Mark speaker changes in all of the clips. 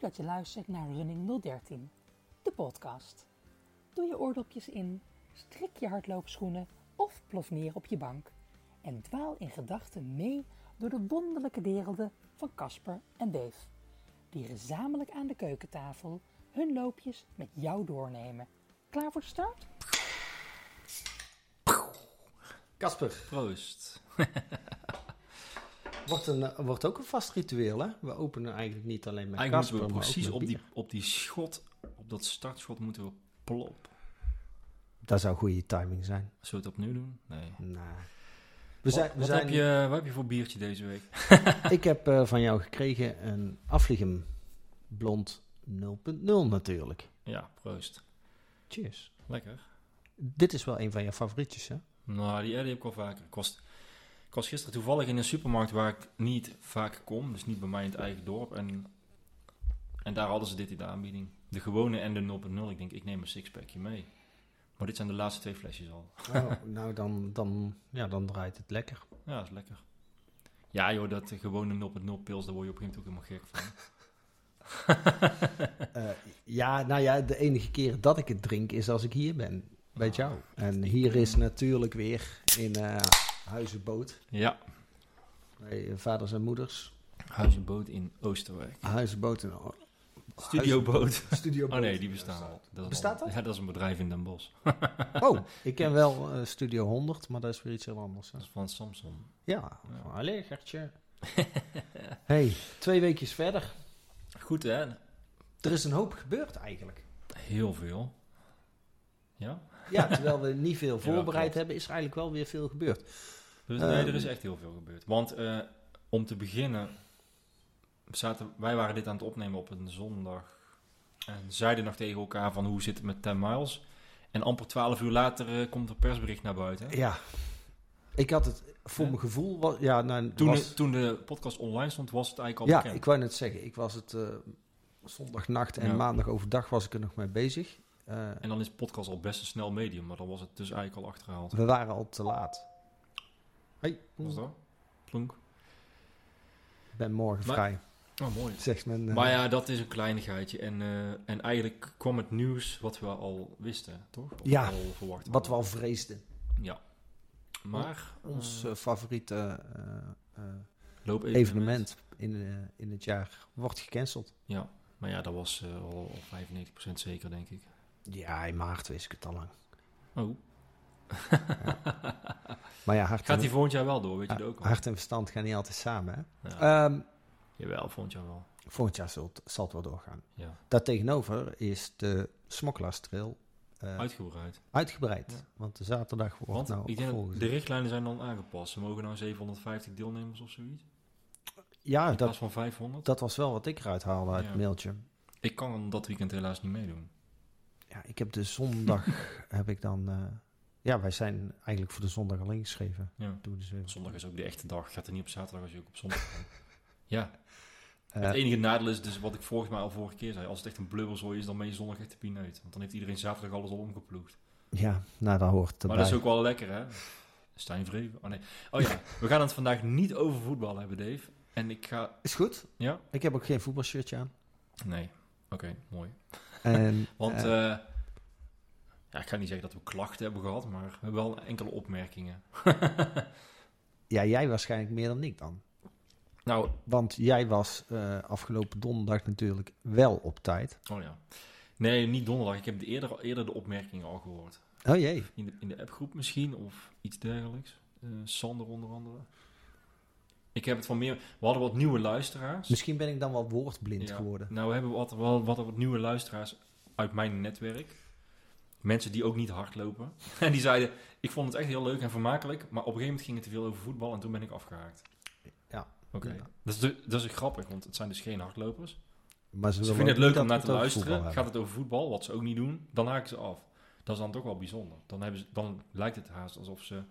Speaker 1: dat je luistert naar Running 013, de podcast. Doe je oordopjes in, strik je hardloopschoenen of plof neer op je bank en dwaal in gedachten mee door de wonderlijke werelden van Casper en Dave, die gezamenlijk aan de keukentafel hun loopjes met jou doornemen. Klaar voor de start?
Speaker 2: Kasper,
Speaker 3: Proost.
Speaker 2: wordt, een, eh, wordt ook een vast ritueel, hè? We openen eigenlijk niet alleen met
Speaker 3: Eigenlijk
Speaker 2: Casper,
Speaker 3: moeten we
Speaker 2: maar ook
Speaker 3: precies
Speaker 2: met
Speaker 3: op die,
Speaker 2: bier.
Speaker 3: op die schot, op dat startschot moeten we plop.
Speaker 2: Dat zou goede timing zijn.
Speaker 3: Zullen we het opnieuw doen? Nee.
Speaker 2: Nou. We zijn, we
Speaker 3: Oh, wat,
Speaker 2: zijn,
Speaker 3: heb je, wat heb je voor biertje deze week?
Speaker 2: Ik heb eh, van jou gekregen een Afligem Blond 0.0 natuurlijk.
Speaker 3: Ja, proost.
Speaker 2: Cheers.
Speaker 3: Lekker.
Speaker 2: Dit is wel een van je favorietjes, hè?
Speaker 3: Nou, die, ja, die heb ik wel vaker. Ik was, ik was gisteren toevallig in een supermarkt waar ik niet vaak kom. Dus niet bij mij in het eigen dorp. En, en daar hadden ze dit in de aanbieding. De gewone en de 0.0. Ik denk, ik neem een sixpackje mee. Maar dit zijn de laatste twee flesjes al.
Speaker 2: Oh, nou, dan, dan, ja, dan draait het lekker.
Speaker 3: Ja, dat is lekker. Ja joh, dat eh, gewone 0.0 pils, daar word je op een gegeven moment ook helemaal gek van.
Speaker 2: Eh, ja, nou ja, de enige keer dat ik het drink is als ik hier ben. Bij
Speaker 3: Ah,
Speaker 2: jou. En hier is natuurlijk weer in eh Huizenboot.
Speaker 3: Ja,
Speaker 2: Bij eh, vaders en moeders.
Speaker 3: Huis en Boot in Oosterwijk.
Speaker 2: Huizenboot en
Speaker 3: Studioboot.
Speaker 2: Studio
Speaker 3: Oh nee, die bestaan al. Dat is
Speaker 2: Bestaat
Speaker 3: al-
Speaker 2: dat?
Speaker 3: Ja, dat is een bedrijf in Den Bosch.
Speaker 2: Oh, ik ken wel eh, Studio 100, maar dat is weer iets heel anders. Hè?
Speaker 3: Dat is van Samsung.
Speaker 2: Ja,
Speaker 3: Ja.
Speaker 2: van allee, Gertje. hey, twee weekjes verder.
Speaker 3: Goed hè?
Speaker 2: Er is een hoop gebeurd eigenlijk.
Speaker 3: Heel veel. Ja?
Speaker 2: Ja, terwijl we niet veel
Speaker 3: Jawel,
Speaker 2: voorbereid
Speaker 3: klopt.
Speaker 2: hebben, is er eigenlijk wel weer veel gebeurd.
Speaker 3: Dus, nee,
Speaker 2: Ehm.
Speaker 3: er is echt heel veel gebeurd. Want eh, om te beginnen, zaten, wij waren dit aan het opnemen op een zondag. En zeiden nog tegen elkaar van hoe zit het met 10 miles. En amper 12 uur later eh, komt een persbericht naar buiten.
Speaker 2: Ja, ik had het voor
Speaker 3: Ja.
Speaker 2: mijn gevoel. wa- ja, nou,
Speaker 3: Toen,
Speaker 2: was-
Speaker 3: de, toen de podcast online stond, was het eigenlijk al
Speaker 2: ja,
Speaker 3: bekend.
Speaker 2: ik wou net zeggen, ik was het eh, zondagnacht en
Speaker 3: Ja.
Speaker 2: maandag overdag was ik er nog mee bezig. Eh,
Speaker 3: En dan is podcast al best een snel medium, maar dan was het dus eigenlijk al achterhaald.
Speaker 2: we waren al te laat. Hey,
Speaker 3: Was dat? Plonk.
Speaker 2: ik ben morgen
Speaker 3: Maar-
Speaker 2: vrij,
Speaker 3: Oh, mooi.
Speaker 2: zegt men. eh,
Speaker 3: Maar ja, dat is een kleinigheidje. En, eh, en eigenlijk kwam het nieuws wat we al wisten, toch? Of
Speaker 2: Ja,
Speaker 3: al verwacht
Speaker 2: Wat we
Speaker 3: hadden.
Speaker 2: al vreesden.
Speaker 3: Ja. Maar
Speaker 2: Ons
Speaker 3: eh,
Speaker 2: eh, favoriete eh, eh,
Speaker 3: loopevenement.
Speaker 2: evenement in, eh, in het jaar wordt gecanceld.
Speaker 3: Ja, maar ja, dat was eh, al, al 95% zeker, denk ik.
Speaker 2: Ja, in maart wist ik het al lang.
Speaker 3: Oh,
Speaker 2: Maar ja, hart,
Speaker 3: gaat
Speaker 2: en,
Speaker 3: die volgend jaar wel door, weet je
Speaker 2: ah,
Speaker 3: dat ook al?
Speaker 2: hart en verstand gaan niet altijd samen. Hè?
Speaker 3: Ja,
Speaker 2: Ehm,
Speaker 3: jawel, volgend jaar wel.
Speaker 2: volgend jaar zal het, zal het wel doorgaan.
Speaker 3: Ja,
Speaker 2: Daartegenover is de smokkelaarstrail eh,
Speaker 3: uitgebreid.
Speaker 2: uitgebreid.
Speaker 3: Ja.
Speaker 2: Want de zaterdag wordt
Speaker 3: Want
Speaker 2: nou
Speaker 3: ik denk dat
Speaker 2: volgens...
Speaker 3: de richtlijnen zijn dan aangepast. Ze mogen nou 750 deelnemers of zoiets.
Speaker 2: Ja,
Speaker 3: In
Speaker 2: dat,
Speaker 3: plaats van 500.
Speaker 2: dat was wel wat ik eruit haalde uit
Speaker 3: Ja.
Speaker 2: het mailtje.
Speaker 3: Ik kan dat weekend helaas niet meedoen.
Speaker 2: Ja, ik heb de zondag, heb ik dan... eh, ja, wij zijn eigenlijk voor de zondag al ingeschreven.
Speaker 3: Ja.
Speaker 2: Toen dus weer-
Speaker 3: Zondag is ook de echte dag. Gaat er niet op zaterdag als je ook op zondag kan. Ja,
Speaker 2: Eh,
Speaker 3: het enige nadeel is dus wat ik volgens mij al vorige keer zei. Als het echt een blubberzooi is, dan ben je zondag echt de pineut. Want dan heeft iedereen zaterdag alles al omgeploegd.
Speaker 2: Ja, nou, dat hoort erbij.
Speaker 3: Maar dat is ook wel lekker, hè? Stijn Vreven. Oh nee. Oh ja, we gaan het vandaag niet over voetbal hebben, Dave. En ik ga...
Speaker 2: Is goed.
Speaker 3: Ja?
Speaker 2: Ik heb ook geen voetbalshirtje aan.
Speaker 3: Nee. Oké, mooi.
Speaker 2: En,
Speaker 3: Want
Speaker 2: eh,
Speaker 3: eh, ja, ik ga niet zeggen dat we klachten hebben gehad, maar we hebben wel enkele opmerkingen.
Speaker 2: ja, jij waarschijnlijk meer dan ik dan.
Speaker 3: Nou,
Speaker 2: Want jij was eh, afgelopen donderdag natuurlijk wel op tijd.
Speaker 3: Oh ja. Nee, niet donderdag. Ik heb de eerder, eerder de opmerkingen al gehoord.
Speaker 2: Oh jee.
Speaker 3: In de, in de appgroep misschien of iets dergelijks. Eh, Sander onder andere. Ik heb het van meer... We hadden wat nieuwe luisteraars.
Speaker 2: Misschien ben ik dan wel woordblind
Speaker 3: Ja.
Speaker 2: geworden.
Speaker 3: Nou, we hebben wat, wel wat, wat nieuwe luisteraars uit mijn netwerk. Mensen die ook niet hardlopen. En die zeiden, ik vond het echt heel leuk en vermakelijk. Maar op een gegeven moment ging het te veel over voetbal en toen ben ik afgehaakt.
Speaker 2: Ja.
Speaker 3: Oké.
Speaker 2: Ja.
Speaker 3: Dat, is, de- dat is grappig, want het zijn dus geen hardlopers.
Speaker 2: Maar ze,
Speaker 3: Ze
Speaker 2: willen ook
Speaker 3: vinden het leuk
Speaker 2: niet
Speaker 3: om naar
Speaker 2: dat
Speaker 3: te
Speaker 2: we het over
Speaker 3: luisteren.
Speaker 2: voetbal
Speaker 3: Gaat
Speaker 2: hebben.
Speaker 3: het over voetbal, wat ze ook niet doen, dan haken ze af. Dat is dan toch wel bijzonder. Dan, hebben ze, dan lijkt het haast alsof ze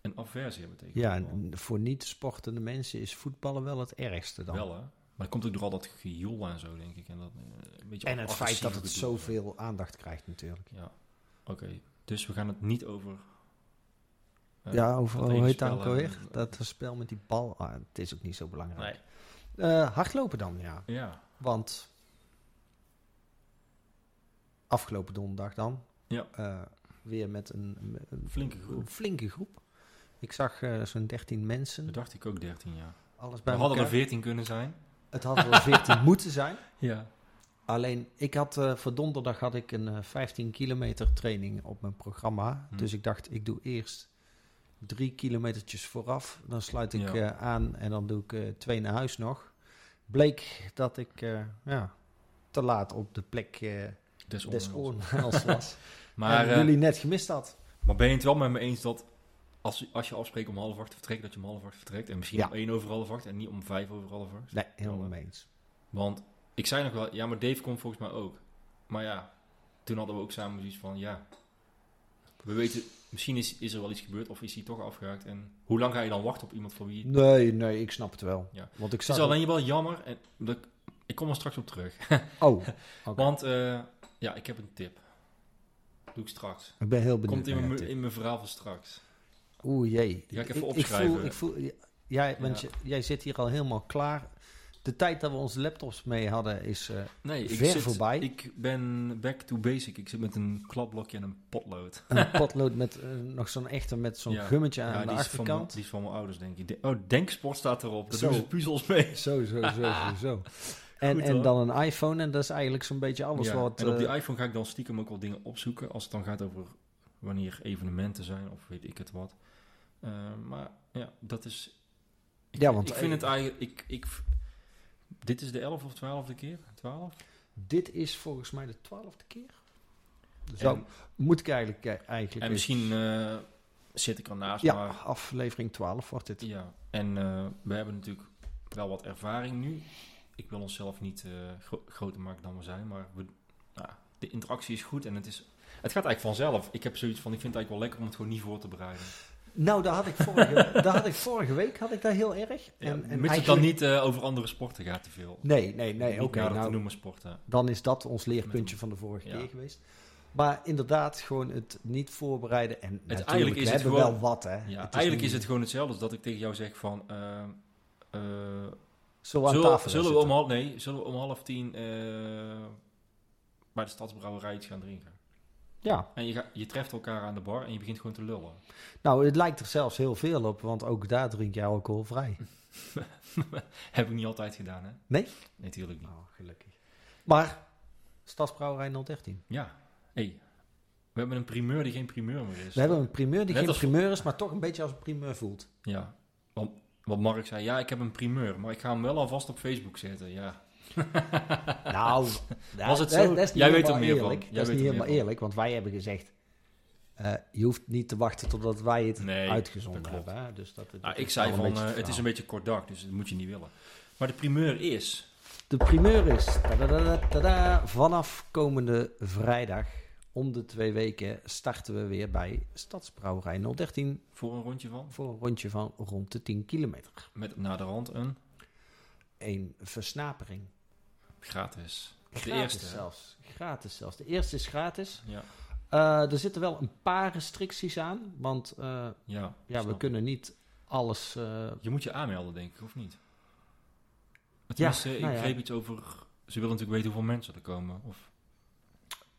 Speaker 3: een aversie hebben tegen
Speaker 2: Ja,
Speaker 3: voetbal.
Speaker 2: en voor niet sportende mensen is voetballen wel het ergste dan.
Speaker 3: Wel hè. Maar het komt ook door al dat gejoel en zo, denk ik. En, dat, eh, een beetje
Speaker 2: en het feit dat het
Speaker 3: agressieve gedoe.
Speaker 2: zoveel aandacht krijgt natuurlijk.
Speaker 3: Ja, oké. Dus we gaan het niet over... eh,
Speaker 2: ja, over,
Speaker 3: dat
Speaker 2: hoe
Speaker 3: ene
Speaker 2: heet dat
Speaker 3: spel eh,
Speaker 2: ook alweer?
Speaker 3: hebben.
Speaker 2: Dat spel met die bal. Ah, het is ook niet zo belangrijk.
Speaker 3: Nee.
Speaker 2: Eh, hardlopen dan, ja.
Speaker 3: Ja,
Speaker 2: Want afgelopen donderdag dan.
Speaker 3: Ja.
Speaker 2: eh, weer met een, een
Speaker 3: Flinke groep.
Speaker 2: flinke groep. Ik zag eh, zo'n 13 mensen.
Speaker 3: Dat dacht ik ook 13 jaar.
Speaker 2: Alles bij
Speaker 3: We hadden er
Speaker 2: elkaar.
Speaker 3: 14 kunnen zijn.
Speaker 2: Het hadden er 14 moeten zijn.
Speaker 3: Ja.
Speaker 2: Alleen, ik had eh, voor donderdag had ik een eh, 15 kilometer training op mijn programma.
Speaker 3: Hm.
Speaker 2: Dus ik dacht, ik doe eerst drie kilometertjes vooraf. Dan sluit ik
Speaker 3: Ja.
Speaker 2: eh, aan en dan doe ik eh, twee naar huis nog. Bleek dat ik eh, ja, te laat op de plek eh
Speaker 3: Des
Speaker 2: des
Speaker 3: ondanks.
Speaker 2: oornaals was.
Speaker 3: Maar,
Speaker 2: en
Speaker 3: eh,
Speaker 2: jullie net gemist had.
Speaker 3: maar ben je het wel met me eens dat als, als je afspreekt om half acht te vertrekken, dat je om half acht vertrekt? En misschien
Speaker 2: Ja.
Speaker 3: om één over half acht en niet om vijf over half acht?
Speaker 2: Nee, helemaal
Speaker 3: Jammer.
Speaker 2: mee eens.
Speaker 3: Want ik zei nog wel, ja, maar Dave komt volgens mij ook. Maar ja, toen hadden we ook samen zoiets van, ja, we weten, misschien is, is er wel iets gebeurd of is hij toch afgehaakt. En hoe lang ga je dan wachten op iemand voor wie...
Speaker 2: Nee, nee, ik snap het wel.
Speaker 3: Ja.
Speaker 2: Want ik
Speaker 3: Het is
Speaker 2: zag...
Speaker 3: alleen wel jammer, en dat, ik kom er straks op terug.
Speaker 2: Oh, oké.
Speaker 3: Want, eh, ja, ik heb een tip. Doe ik straks.
Speaker 2: ik ben heel benieuwd
Speaker 3: Komt in
Speaker 2: naar
Speaker 3: mijn,
Speaker 2: je tip.
Speaker 3: in mijn verhaal van straks.
Speaker 2: Oeh jee.
Speaker 3: Die ga ik even
Speaker 2: voel,
Speaker 3: opschrijven.
Speaker 2: ik voel, jij, want je- jij zit hier al helemaal klaar. De tijd dat we onze laptops mee hadden is... eh,
Speaker 3: Nee, ik,
Speaker 2: Ver
Speaker 3: zit,
Speaker 2: voorbij.
Speaker 3: ik ben back to basic. Ik zit met een klapblokje en een potlood.
Speaker 2: een potlood met eh, nog zo'n echte met zo'n
Speaker 3: Ja.
Speaker 2: gummetje aan de
Speaker 3: die, is van, mijn-
Speaker 2: achterkant.
Speaker 3: die is van mijn ouders, denk ik. De- oh, Denksport staat erop. Daar
Speaker 2: Zo.
Speaker 3: doen ze puzzels mee.
Speaker 2: Zo, zo, zo, zo, zo. En,
Speaker 3: Goed,
Speaker 2: en
Speaker 3: hoor.
Speaker 2: dan een iPhone en dat is eigenlijk zo'n beetje alles
Speaker 3: Ja,
Speaker 2: wat...
Speaker 3: en op die
Speaker 2: eh,
Speaker 3: iPhone ga ik dan stiekem ook wel dingen opzoeken. Als het dan gaat over wanneer evenementen zijn of weet ik het wat. Eh, maar ja, dat is. Ik,
Speaker 2: Ja, want-
Speaker 3: ik vind het eigenlijk. Ik, ik, dit is de 11 of 12e keer. 12?
Speaker 2: dit is volgens mij de twaalfde keer. Dus
Speaker 3: En-
Speaker 2: dan moet ik eigenlijk... eh, eigenlijk
Speaker 3: En
Speaker 2: eens-
Speaker 3: misschien eh, zit ik ernaast.
Speaker 2: Ja,
Speaker 3: Maar,
Speaker 2: aflevering 12 wordt dit.
Speaker 3: ja. En eh, we hebben natuurlijk wel wat ervaring nu. Ik wil onszelf niet eh, gro- groter maken dan we zijn. Maar we, nou, de interactie is goed en het is. Het gaat eigenlijk vanzelf. Ik heb zoiets van, ik vind het eigenlijk wel lekker om het gewoon niet voor te bereiden.
Speaker 2: Nou, daar had ik vorige, daar had ik vorige week had ik dat heel erg. en,
Speaker 3: Ja,
Speaker 2: en
Speaker 3: mits het dan
Speaker 2: eigenlijk-
Speaker 3: niet eh, over andere sporten gaat te veel.
Speaker 2: Nee, nee, nee.
Speaker 3: Niet
Speaker 2: Oké,
Speaker 3: nader
Speaker 2: nou,
Speaker 3: te noemen sporten.
Speaker 2: dan is dat ons
Speaker 3: Met
Speaker 2: leerpuntje
Speaker 3: een-
Speaker 2: van de vorige
Speaker 3: ja.
Speaker 2: keer geweest. Maar inderdaad, gewoon het niet voorbereiden. En natuurlijk,
Speaker 3: eigenlijk
Speaker 2: we
Speaker 3: is het
Speaker 2: hebben
Speaker 3: gewoon-
Speaker 2: wel wat, hè. Het
Speaker 3: Ja,
Speaker 2: is
Speaker 3: eigenlijk
Speaker 2: niet-
Speaker 3: is het gewoon hetzelfde als dat ik tegen jou zeg van... eh, eh,
Speaker 2: Zullen we aan
Speaker 3: zullen,
Speaker 2: tafel
Speaker 3: zullen we
Speaker 2: gaan
Speaker 3: om half, nee, zullen we om half tien eh, bij de Stadsbrouwerij iets gaan drinken?
Speaker 2: zitten? Ja,
Speaker 3: En je, ga- je treft elkaar aan de bar en je begint gewoon te lullen.
Speaker 2: nou, het lijkt er zelfs heel veel op, want ook daar drink je alcoholvrij.
Speaker 3: Heb ik niet altijd gedaan, hè?
Speaker 2: Nee?
Speaker 3: Natuurlijk niet.
Speaker 2: Oh, gelukkij. Maar, Stadsbrouwerij 013.
Speaker 3: Ja, hey, we hebben een primeur die geen primeur meer is.
Speaker 2: We hebben een primeur die
Speaker 3: Net
Speaker 2: geen
Speaker 3: als-
Speaker 2: primeur is, maar toch een beetje als een primeur voelt.
Speaker 3: Ja, want wat Mark zei, ja, ik heb een primeur, maar ik ga hem wel alvast op Facebook zetten, ja.
Speaker 2: Nou, dat,
Speaker 3: Was
Speaker 2: dat-
Speaker 3: het zo?
Speaker 2: dat is niet
Speaker 3: Jij weet
Speaker 2: helemaal
Speaker 3: er meer van.
Speaker 2: eerlijk.
Speaker 3: Jij
Speaker 2: Dat
Speaker 3: weet
Speaker 2: is
Speaker 3: er
Speaker 2: niet
Speaker 3: meer
Speaker 2: helemaal
Speaker 3: van.
Speaker 2: eerlijk, want wij hebben gezegd... eh, je hoeft niet te wachten totdat wij het
Speaker 3: Nee,
Speaker 2: uitgezonden
Speaker 3: dat klopt.
Speaker 2: hebben. hè. Dus dat,
Speaker 3: Nou,
Speaker 2: dat
Speaker 3: ik
Speaker 2: is
Speaker 3: zei
Speaker 2: wel
Speaker 3: van,
Speaker 2: beetje
Speaker 3: eh, het is
Speaker 2: verhaal.
Speaker 3: een beetje kort dag, dus dat moet je niet willen. Maar de primeur is...
Speaker 2: De primeur is tadadadadada, vanaf komende vrijdag om de twee weken starten we weer bij Stadsbrouwerij 013
Speaker 3: Voor een rondje van?
Speaker 2: voor een rondje van rond de 10 kilometer.
Speaker 3: Met naderhand een
Speaker 2: Een versnapering.
Speaker 3: gratis.
Speaker 2: Gratis
Speaker 3: de eerste. hè?
Speaker 2: zelfs. Gratis zelfs. De eerste is gratis.
Speaker 3: Ja,
Speaker 2: Eh, er zitten wel een paar restricties aan, want eh,
Speaker 3: ja,
Speaker 2: ja,
Speaker 3: snap
Speaker 2: we
Speaker 3: ik.
Speaker 2: kunnen niet alles. eh,
Speaker 3: Je moet je aanmelden, denk ik, of niet? Tenminste,
Speaker 2: nou
Speaker 3: ik
Speaker 2: ja.
Speaker 3: begreep iets over... Ze willen natuurlijk weten hoeveel mensen er komen. Of,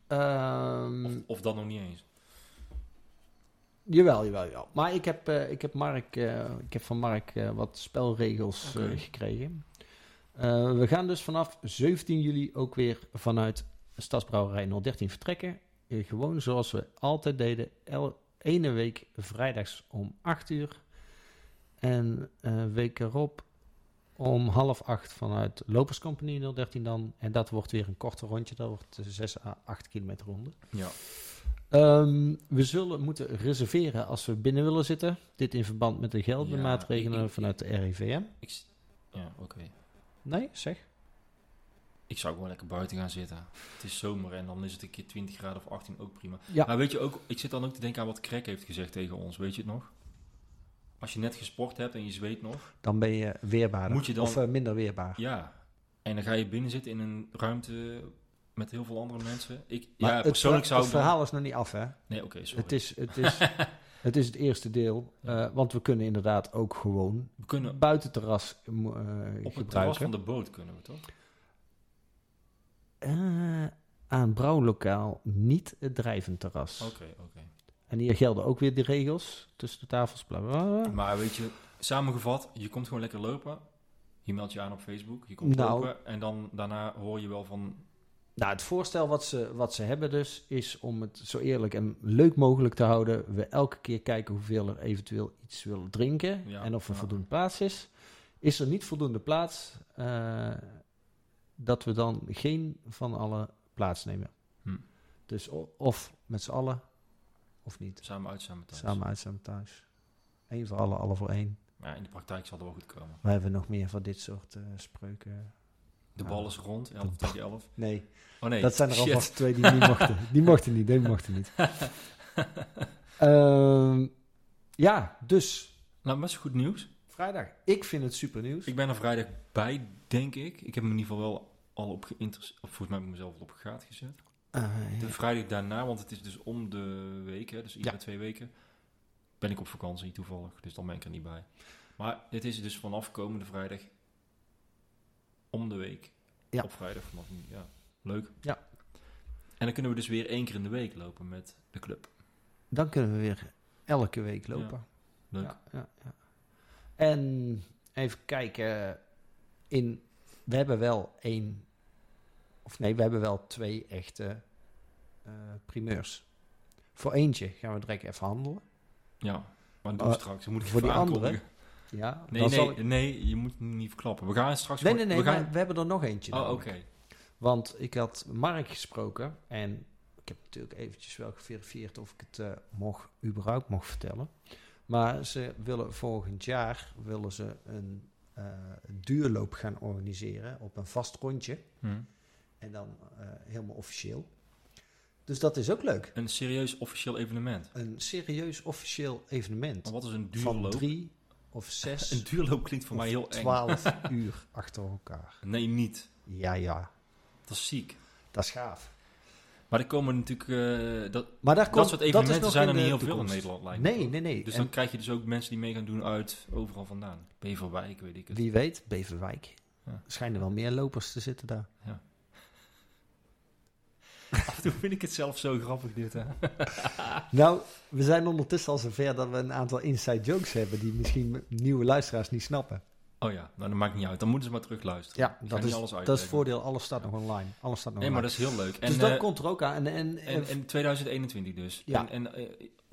Speaker 2: ehm,
Speaker 3: of, of dat nog niet eens.
Speaker 2: Jawel, jawel, jawel. Maar ik heb, eh, ik heb, Mark, eh, ik heb van Mark eh, wat spelregels eh,
Speaker 3: Oké.
Speaker 2: gekregen. Eh, we gaan dus vanaf 17 juli ook weer vanuit Stadsbrouwerij 013 vertrekken. Eh, gewoon zoals we altijd deden. El ene week vrijdags om 8 uur. En eh week erop om half 8 vanuit Lopers Company 013 dan. En dat wordt weer een korter rondje. Dat wordt 6 à 8 kilometer ronde.
Speaker 3: Ja,
Speaker 2: Ehm, we zullen moeten reserveren als we binnen willen zitten. Dit in verband met de gelden
Speaker 3: Ja,
Speaker 2: maatregelen
Speaker 3: ik- ik-
Speaker 2: vanuit de RIVM.
Speaker 3: ik, s- ja oké.
Speaker 2: Nee, zeg.
Speaker 3: Ik zou ook wel lekker buiten gaan zitten. Het is zomer en dan is het een keer 20 graden of 18 ook prima.
Speaker 2: Ja.
Speaker 3: Maar weet je ook, ik zit dan ook te denken aan wat Crack heeft gezegd tegen ons, weet je het nog? Als je net gesport hebt en je zweet nog,
Speaker 2: Dan ben je weerbaarder.
Speaker 3: Moet je dan-
Speaker 2: Of eh, minder weerbaar.
Speaker 3: Ja, en dan ga je binnen zitten in een ruimte met heel veel andere mensen. Ik,
Speaker 2: Maar
Speaker 3: ja,
Speaker 2: het
Speaker 3: persoonlijk
Speaker 2: verha-
Speaker 3: zou ik...
Speaker 2: het
Speaker 3: dan-
Speaker 2: verhaal is nog niet af, hè?
Speaker 3: Nee, oké, sorry.
Speaker 2: Het is, het, is, het is het eerste deel.
Speaker 3: Ja.
Speaker 2: eh, want we kunnen inderdaad ook gewoon
Speaker 3: We kunnen op
Speaker 2: buitenterras eh, mo- eh,
Speaker 3: het terras
Speaker 2: gebruiken.
Speaker 3: van de boot kunnen we, toch?
Speaker 2: Eh, aan brouwlokaal, niet het drijventerras.
Speaker 3: Oké, oké.
Speaker 2: En hier gelden ook weer de regels tussen de tafels. Bla bla bla.
Speaker 3: Maar weet je, samengevat, je komt gewoon lekker lopen. Je meldt je aan op Facebook. Je komt
Speaker 2: Nou.
Speaker 3: lopen en dan daarna hoor je wel van...
Speaker 2: Nou, het voorstel wat ze, wat ze hebben dus, is om het zo eerlijk en leuk mogelijk te houden. We elke keer kijken hoeveel er eventueel iets willen drinken
Speaker 3: Ja,
Speaker 2: en of er
Speaker 3: ja.
Speaker 2: voldoende plaats is. Is er niet voldoende plaats, eh, dat we dan geen van allen plaatsnemen.
Speaker 3: Hm.
Speaker 2: Dus o- of met z'n allen, of niet.
Speaker 3: Samen uit, samen thuis.
Speaker 2: Samen uit, samen thuis. Eén voor allen, alle voor één.
Speaker 3: Maar ja, in de praktijk zal het wel goed komen.
Speaker 2: We hebben nog meer van dit soort eh, spreuken.
Speaker 3: De
Speaker 2: Ja.
Speaker 3: bal is rond, 11 tegen 11.
Speaker 2: Nee,
Speaker 3: Oh nee,
Speaker 2: dat zijn er
Speaker 3: shit.
Speaker 2: alvast twee die niet mochten. Die mochten niet, die mochten niet. Ehm, ja, dus
Speaker 3: Nou, best goed nieuws.
Speaker 2: vrijdag. Ik vind het super nieuws.
Speaker 3: Ik ben er vrijdag bij, denk ik. Ik heb hem in ieder geval wel al op geïnteresseerd. Of volgens mij heb ik mezelf al op gaat gezet.
Speaker 2: Ah,
Speaker 3: De vrijdag daarna, want het is dus om de week, hè, dus iedere
Speaker 2: Ja.
Speaker 3: twee weken, ben ik op vakantie toevallig. Dus dan ben ik er niet bij. Maar het is dus vanaf komende vrijdag om de week.
Speaker 2: Ja.
Speaker 3: Op vrijdag vanaf nu. Ja, leuk.
Speaker 2: Ja.
Speaker 3: En dan kunnen we dus weer één keer in de week lopen met de club.
Speaker 2: Dan kunnen we weer elke week lopen.
Speaker 3: Leuk.
Speaker 2: Ja, ja, ja. En even kijken. In, we hebben wel één, of nee, we hebben wel twee echte eh, primeurs. Voor eentje gaan we direct even handelen.
Speaker 3: Ja. Maar doe
Speaker 2: Maar
Speaker 3: straks. Moet ik
Speaker 2: Oh, voor die
Speaker 3: even
Speaker 2: andere?
Speaker 3: aankondigen.
Speaker 2: Ja,
Speaker 3: Nee,
Speaker 2: dan
Speaker 3: nee,
Speaker 2: zal ik-
Speaker 3: nee, je moet niet verklappen. We gaan straks...
Speaker 2: nee, nee,
Speaker 3: gewoon-
Speaker 2: nee,
Speaker 3: we
Speaker 2: maar
Speaker 3: gaan...
Speaker 2: we hebben er nog eentje.
Speaker 3: Oh, oké.
Speaker 2: namelijk. Want ik had Mark gesproken en ik heb natuurlijk eventjes wel geverifieerd of ik het eh, mocht, überhaupt mocht vertellen. Maar ze willen volgend jaar willen ze een eh, duurloop gaan organiseren op een vast rondje.
Speaker 3: Hm.
Speaker 2: En dan eh, helemaal officieel. Dus dat is ook leuk.
Speaker 3: Een serieus officieel evenement.
Speaker 2: Een serieus officieel
Speaker 3: Maar
Speaker 2: evenement.
Speaker 3: wat is een
Speaker 2: Van
Speaker 3: duurloop?
Speaker 2: drie of zes
Speaker 3: Een duurloop klinkt voor
Speaker 2: of
Speaker 3: mij heel eng.
Speaker 2: twaalf uur achter elkaar.
Speaker 3: Nee, niet.
Speaker 2: Ja, ja.
Speaker 3: Dat is ziek.
Speaker 2: Dat is gaaf.
Speaker 3: Maar er komen natuurlijk... eh, dat,
Speaker 2: Maar daar komt,
Speaker 3: dat soort
Speaker 2: is
Speaker 3: evenementen
Speaker 2: nog
Speaker 3: zijn
Speaker 2: in
Speaker 3: er niet
Speaker 2: de
Speaker 3: heel veel in
Speaker 2: toekomst.
Speaker 3: Nederland, lijkt me.
Speaker 2: Nee, nee, nee.
Speaker 3: Dus
Speaker 2: En-
Speaker 3: dan krijg je dus ook mensen die mee gaan doen uit overal vandaan. Beverwijk, weet ik het.
Speaker 2: Wie weet, Beverwijk.
Speaker 3: Ja.
Speaker 2: Schijnen wel meer lopers te zitten daar.
Speaker 3: Af en toe vind ik het zelf zo grappig dit, hè? Ah.
Speaker 2: Nou, we zijn ondertussen al zover dat we een aantal inside jokes hebben die misschien nieuwe luisteraars niet snappen.
Speaker 3: Oh ja, nou dat maakt niet uit. Dan moeten ze maar terugluisteren.
Speaker 2: Ja,
Speaker 3: Ik ga
Speaker 2: dat
Speaker 3: niet
Speaker 2: is, dat
Speaker 3: alles
Speaker 2: is
Speaker 3: uitleggen.
Speaker 2: het voordeel. Alles staat nog online. Alles staat nog
Speaker 3: Nee, maar
Speaker 2: online.
Speaker 3: dat is heel leuk. En,
Speaker 2: dus dat
Speaker 3: eh,
Speaker 2: komt er ook aan. En, en,
Speaker 3: en, en 2021 dus.
Speaker 2: Ja.
Speaker 3: En, en eh,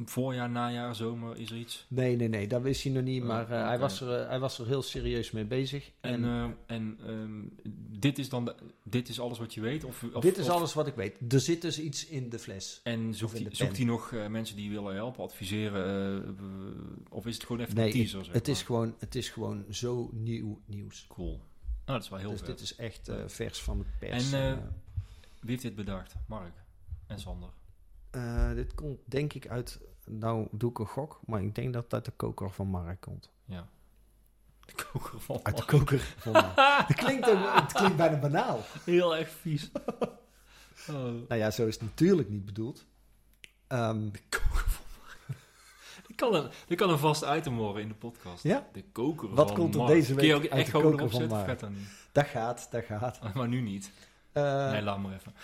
Speaker 3: voorjaar, najaar, zomer is er iets.
Speaker 2: nee, nee, nee, dat wist hij nog niet.
Speaker 3: Oh,
Speaker 2: Maar eh, hij,
Speaker 3: oké.
Speaker 2: was er, eh, hij was er heel serieus mee bezig. En,
Speaker 3: En, eh, en ehm, dit is dan de- dit is alles wat je weet? Of, of-
Speaker 2: dit is
Speaker 3: of-
Speaker 2: alles wat ik weet. Er zit dus iets in de fles.
Speaker 3: En
Speaker 2: Of
Speaker 3: zoekt
Speaker 2: in
Speaker 3: hij,
Speaker 2: de
Speaker 3: zoekt
Speaker 2: pen.
Speaker 3: hij nog eh, mensen die willen helpen, adviseren? eh, eh, of is het gewoon even
Speaker 2: Nee,
Speaker 3: een teaser? zeg
Speaker 2: het, is
Speaker 3: maar?
Speaker 2: gewoon, het is gewoon zo nieuw nieuws.
Speaker 3: cool. Nou, dat is wel heel
Speaker 2: dus
Speaker 3: vet.
Speaker 2: dit is echt eh, vers van de pers.
Speaker 3: En, eh,
Speaker 2: En, eh,
Speaker 3: Wie heeft dit bedacht? Mark en Sander.
Speaker 2: Eh, dit komt denk ik uit. Nou, doe ik een gok, maar ik denk dat het uit de koker van Mark komt.
Speaker 3: Ja. De koker van Mark.
Speaker 2: koker van Mark. het, klinkt ook- het klinkt bijna banaal.
Speaker 3: Heel erg vies. Oh,
Speaker 2: Nou ja, zo is het natuurlijk niet bedoeld. Ehm,
Speaker 3: dit, kan een, dit kan een vast item worden in de podcast.
Speaker 2: Ja?
Speaker 3: De koker
Speaker 2: Wat
Speaker 3: van
Speaker 2: komt er
Speaker 3: Mark.
Speaker 2: deze
Speaker 3: Kun je
Speaker 2: week
Speaker 3: ook
Speaker 2: uit
Speaker 3: echt
Speaker 2: de
Speaker 3: gewoon
Speaker 2: koker
Speaker 3: erop
Speaker 2: van
Speaker 3: zetten?
Speaker 2: Mark?
Speaker 3: Vet dan niet.
Speaker 2: dat gaat, dat gaat.
Speaker 3: Maar nu niet.
Speaker 2: Eh,
Speaker 3: nee, laat maar even.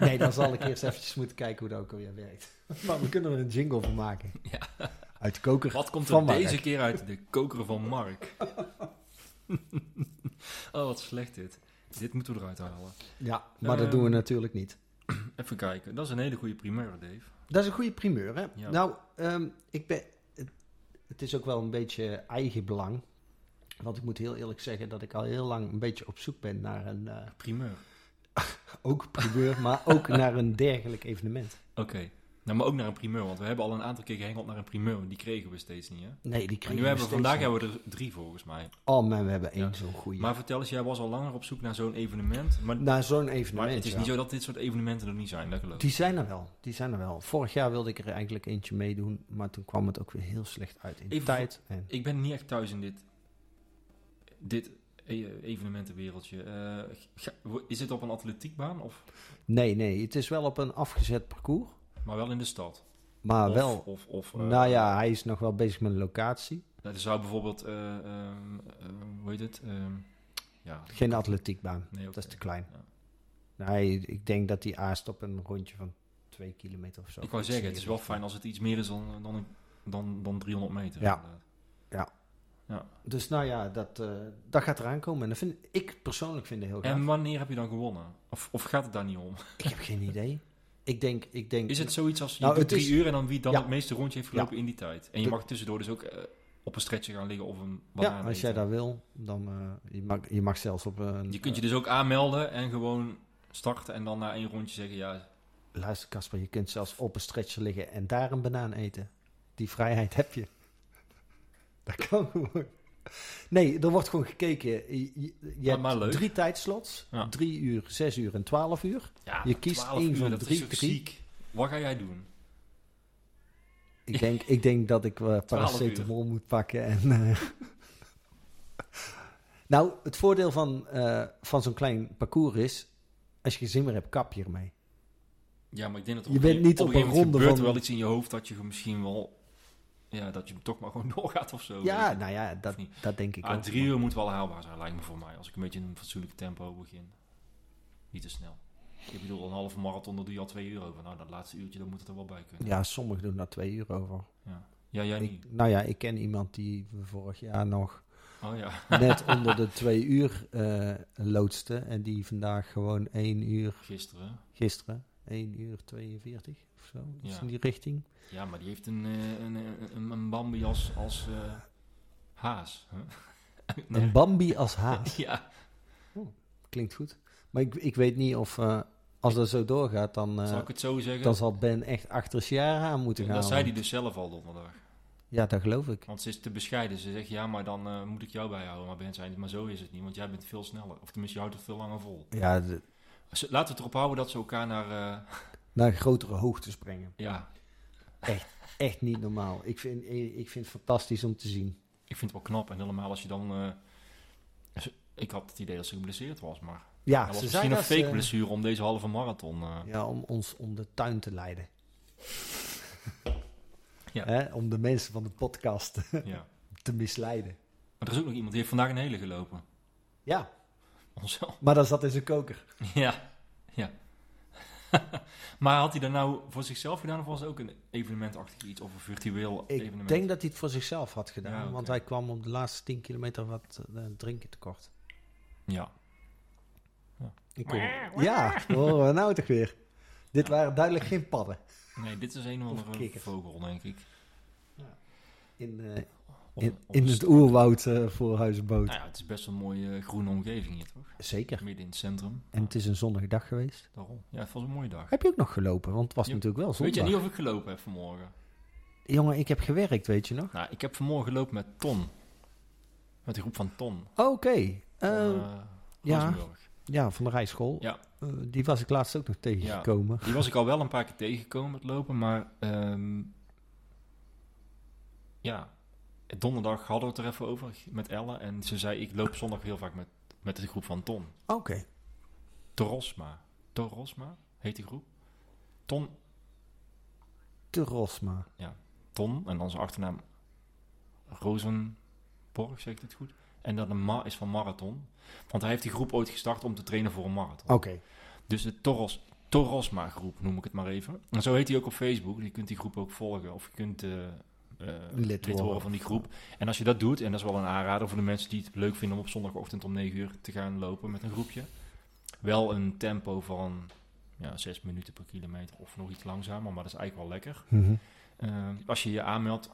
Speaker 2: nee, dan zal ik eerst eventjes moeten kijken hoe dat ook alweer werkt. Maar we kunnen er een jingle van maken.
Speaker 3: Ja.
Speaker 2: Uit de koker
Speaker 3: Wat komt er
Speaker 2: van Mark.
Speaker 3: deze keer uit? De koker van Mark. oh, wat slecht dit. Dit moeten we eruit halen.
Speaker 2: Ja, maar dat
Speaker 3: Ehm,
Speaker 2: doen we natuurlijk niet.
Speaker 3: Even kijken. Dat is een hele goede primeur, Dave.
Speaker 2: Dat is een goede primeur, hè?
Speaker 3: Ja.
Speaker 2: Nou, ehm, ik ben, het, het is ook wel een beetje eigen belang. Want ik moet heel eerlijk zeggen dat ik al heel lang een beetje op zoek ben naar een, eh,
Speaker 3: Primeur.
Speaker 2: ook primeur, maar ook naar een dergelijk evenement.
Speaker 3: Oké. Nou, maar ook naar een primeur. Want we hebben al een aantal keer gehengeld naar een primeur. maar Die kregen we steeds niet, hè?
Speaker 2: Nee, die
Speaker 3: En
Speaker 2: krijgen
Speaker 3: nu hebben we
Speaker 2: steeds
Speaker 3: vandaag
Speaker 2: niet.
Speaker 3: hebben we er drie, volgens mij.
Speaker 2: Oh man, we hebben één
Speaker 3: Ja.
Speaker 2: zo'n goede.
Speaker 3: Maar vertel eens, jij was al langer op zoek naar zo'n evenement. Maar,
Speaker 2: naar Nou, zo'n
Speaker 3: maar
Speaker 2: evenement,
Speaker 3: het is
Speaker 2: ja.
Speaker 3: niet zo dat dit soort evenementen er niet zijn, dat geloof ik.
Speaker 2: Die zijn er wel, die zijn er wel. Vorig jaar wilde ik er eigenlijk eentje meedoen, maar toen kwam het ook weer heel slecht uit in de
Speaker 3: Even
Speaker 2: tijd. En,
Speaker 3: Ik ben niet echt thuis in dit, dit e- evenementenwereldje. Eh, ga- wo- is dit op een atletiekbaan? Of,
Speaker 2: nee, nee, het is wel op een afgezet parcours,
Speaker 3: maar wel in de stad?
Speaker 2: maar
Speaker 3: of,
Speaker 2: Ah, wel...
Speaker 3: Of, of, eh,
Speaker 2: Nou ja, hij is nog wel bezig met een locatie.
Speaker 3: Dat zou bijvoorbeeld, eh, ehm, eh, hoe heet het? Ehm, ja.
Speaker 2: Geen atletiekbaan.
Speaker 3: Nee, oké.
Speaker 2: Dat is te klein.
Speaker 3: Ja.
Speaker 2: Nee, ik denk dat die aast op een rondje van 2 kilometer of zo.
Speaker 3: Ik wou zeggen, het is wel fijn als het iets meer is dan, dan, dan, dan 300 meter.
Speaker 2: Ja.
Speaker 3: inderdaad.
Speaker 2: Dus nou ja, dat, eh, dat gaat eraan komen. En dat vind ik persoonlijk vind het heel gaaf.
Speaker 3: En wanneer heb je dan gewonnen? Of, of gaat het daar niet om?
Speaker 2: Ik heb geen idee. Ik denk, ik denk...
Speaker 3: Is het zoiets als je
Speaker 2: Nou,
Speaker 3: doet
Speaker 2: het
Speaker 3: drie
Speaker 2: is-
Speaker 3: uur en dan wie dan
Speaker 2: Ja.
Speaker 3: het meeste rondje heeft gelopen in die tijd? En je
Speaker 2: De-
Speaker 3: mag tussendoor dus ook eh, op een stretcher gaan liggen of een banaan
Speaker 2: Ja, als jij
Speaker 3: eten.
Speaker 2: dat wil, dan eh, je mag je mag zelfs op een...
Speaker 3: Je kunt je dus ook aanmelden en gewoon starten en dan na één rondje zeggen ja.
Speaker 2: eh, luister Casper, je kunt zelfs op een stretcher liggen en daar een banaan eten. Die vrijheid heb je. Dat kan gewoon. Nee, er wordt gewoon gekeken. Je, je- je
Speaker 3: Maar-
Speaker 2: hebt
Speaker 3: maar leuk.
Speaker 2: drie tijdslots.
Speaker 3: Ja.
Speaker 2: Drie uur, zes uur en twaalf uur.
Speaker 3: ja
Speaker 2: Je kiest
Speaker 3: 12
Speaker 2: één
Speaker 3: uur,
Speaker 2: van
Speaker 3: dat
Speaker 2: drie,
Speaker 3: is toch
Speaker 2: drie.
Speaker 3: ziek. Wat ga jij doen?
Speaker 2: Ik denk, ik denk dat ik eh paracetamol moet pakken. En, eh, nou, het voordeel van, eh, van zo'n klein parcours is... Als je geen zin meer hebt, kap je ermee.
Speaker 3: Ja, maar ik denk dat
Speaker 2: Je
Speaker 3: gegeven
Speaker 2: bent niet
Speaker 3: moment-
Speaker 2: op een
Speaker 3: gegeven moment
Speaker 2: ronde
Speaker 3: gebeurt
Speaker 2: van-
Speaker 3: er wel iets in je hoofd dat je misschien wel... Ja, dat je toch maar gewoon doorgaat of zo.
Speaker 2: ja,
Speaker 3: Oh, weet je.
Speaker 2: nou ja, dat,
Speaker 3: Of niet.
Speaker 2: dat denk ik
Speaker 3: Ah,
Speaker 2: ook.
Speaker 3: drie uur moet wel haalbaar zijn, lijkt me voor mij. Als ik een beetje in een fatsoenlijk tempo begin. Niet te snel. Ik bedoel, een halve marathon, daar doe je al twee uur over. Nou, dat laatste uurtje, dan moet het er wel bij kunnen.
Speaker 2: Ja, sommigen doen daar twee uur over.
Speaker 3: Ja, ja jij niet.
Speaker 2: Ik, nou ja, ik ken iemand die vorig jaar nog
Speaker 3: Oh ja,
Speaker 2: net onder de twee uur eh loodste. En die vandaag gewoon één uur,
Speaker 3: gisteren.
Speaker 2: gisteren, één uur 42 of zo. Iets
Speaker 3: Ja.
Speaker 2: in die richting.
Speaker 3: Ja, maar die heeft een, eh, een, een, een Bambi als, als eh, haas. hè? Nee.
Speaker 2: Een Bambi als haas.
Speaker 3: Ja,
Speaker 2: Klinkt goed. Maar ik, ik weet niet of eh, als dat zo doorgaat, dan, eh,
Speaker 3: zal ik het zo zeggen?
Speaker 2: dan zal Ben echt achter Ciara aan moeten gaan.
Speaker 3: dat zei hij dus zelf al donderdag.
Speaker 2: Ja, dat geloof ik.
Speaker 3: Want ze is te bescheiden. Ze zegt, ja, maar dan eh, moet ik jou bijhouden. Maar Ben zei, maar zo is het niet, want jij bent veel sneller. Of tenminste, je houdt het veel langer vol.
Speaker 2: Ja, de-
Speaker 3: Ze- Laten we het erop houden dat ze elkaar naar... eh,
Speaker 2: naar grotere hoogtes brengen.
Speaker 3: ja,
Speaker 2: Echt niet normaal. Ik vind, ik ik vind het fantastisch om te zien.
Speaker 3: ik vind het wel knap. En helemaal als je dan... eh, ze- ik had het idee dat ze geblesseerd was, maar...
Speaker 2: Ja,
Speaker 3: dat was
Speaker 2: Ah, ze
Speaker 3: misschien
Speaker 2: zijn
Speaker 3: een fake
Speaker 2: als,
Speaker 3: blessure om deze halve marathon... eh,
Speaker 2: Ja, om ons om de tuin te leiden.
Speaker 3: Ja.
Speaker 2: Hè, om de mensen van de podcast
Speaker 3: ja.
Speaker 2: te misleiden.
Speaker 3: Maar er is ook nog iemand, die heeft vandaag een hele gelopen.
Speaker 2: Ja,
Speaker 3: Onszelf.
Speaker 2: maar dat zat in zijn koker.
Speaker 3: Ja, ja. maar had hij dat nou voor zichzelf gedaan of was het ook een evenementachtig iets of een virtueel
Speaker 2: Ik
Speaker 3: evenement?
Speaker 2: denk dat hij het voor zichzelf had gedaan,
Speaker 3: Ja, oké.
Speaker 2: want hij kwam op de laatste 10 kilometer wat eh, drinken tekort.
Speaker 3: Ja,
Speaker 2: Ik kon- Ja, dat horen we nou toch weer. Dit waren duidelijk geen padden.
Speaker 3: nee, dit is een of
Speaker 2: Of
Speaker 3: andere
Speaker 2: kikkers.
Speaker 3: vogel, denk ik.
Speaker 2: In, eh,
Speaker 3: Of-
Speaker 2: in,
Speaker 3: of
Speaker 2: in
Speaker 3: een
Speaker 2: het
Speaker 3: st-
Speaker 2: oerwoud eh, voor Huizenboot.
Speaker 3: dus- Nou ja, het is best een mooie eh, groene omgeving hier, toch?
Speaker 2: Zeker.
Speaker 3: Midden in het centrum.
Speaker 2: En het is een zonnige dag geweest.
Speaker 3: Daarom. Ja, het was een mooie dag.
Speaker 2: Heb je ook nog gelopen? Want het was
Speaker 3: Ja.
Speaker 2: natuurlijk wel
Speaker 3: Weet je niet
Speaker 2: zondag.
Speaker 3: of ik gelopen heb vanmorgen?
Speaker 2: Jongen, ik heb gewerkt, weet je nog?
Speaker 3: Nou, ik heb vanmorgen gelopen met Ton. Met een groep van Ton.
Speaker 2: Oké.
Speaker 3: Van,
Speaker 2: eh,
Speaker 3: eh,
Speaker 2: ja.
Speaker 3: Rozenburg.
Speaker 2: ja, van de rijschool.
Speaker 3: Ja.
Speaker 2: Eh, die was ik laatst ook nog tegengekomen.
Speaker 3: Die was ik al wel een paar keer tegengekomen met lopen, maar ehm, ja, donderdag hadden we het er even over met Elle en ze zei ik loop zondag heel vaak met, met de groep van Ton.
Speaker 2: Oké.
Speaker 3: Torosma. Torosma heet die groep. Ton,
Speaker 2: Te Rosma.
Speaker 3: Ton en dan zijn achternaam Rozenborg, zeg ik het goed? En dat een ma is van marathon, want hij heeft die groep ooit gestart om te trainen voor een marathon.
Speaker 2: Oké.
Speaker 3: Dus de Toros, Torosma groep noem ik het maar even. En zo heet die ook op Facebook. Je kunt die groep ook volgen. Of je kunt eh, eh, lid
Speaker 2: worden.
Speaker 3: worden van die groep. En als je dat doet, en dat is wel een aanrader voor de mensen die het leuk vinden om op zondagochtend om 9 uur te gaan lopen met een groepje. Wel een tempo van ja, 6 minuten per kilometer of nog iets langzamer, maar dat is eigenlijk wel lekker.
Speaker 2: Mhm.
Speaker 3: Eh, als je je aanmeldt,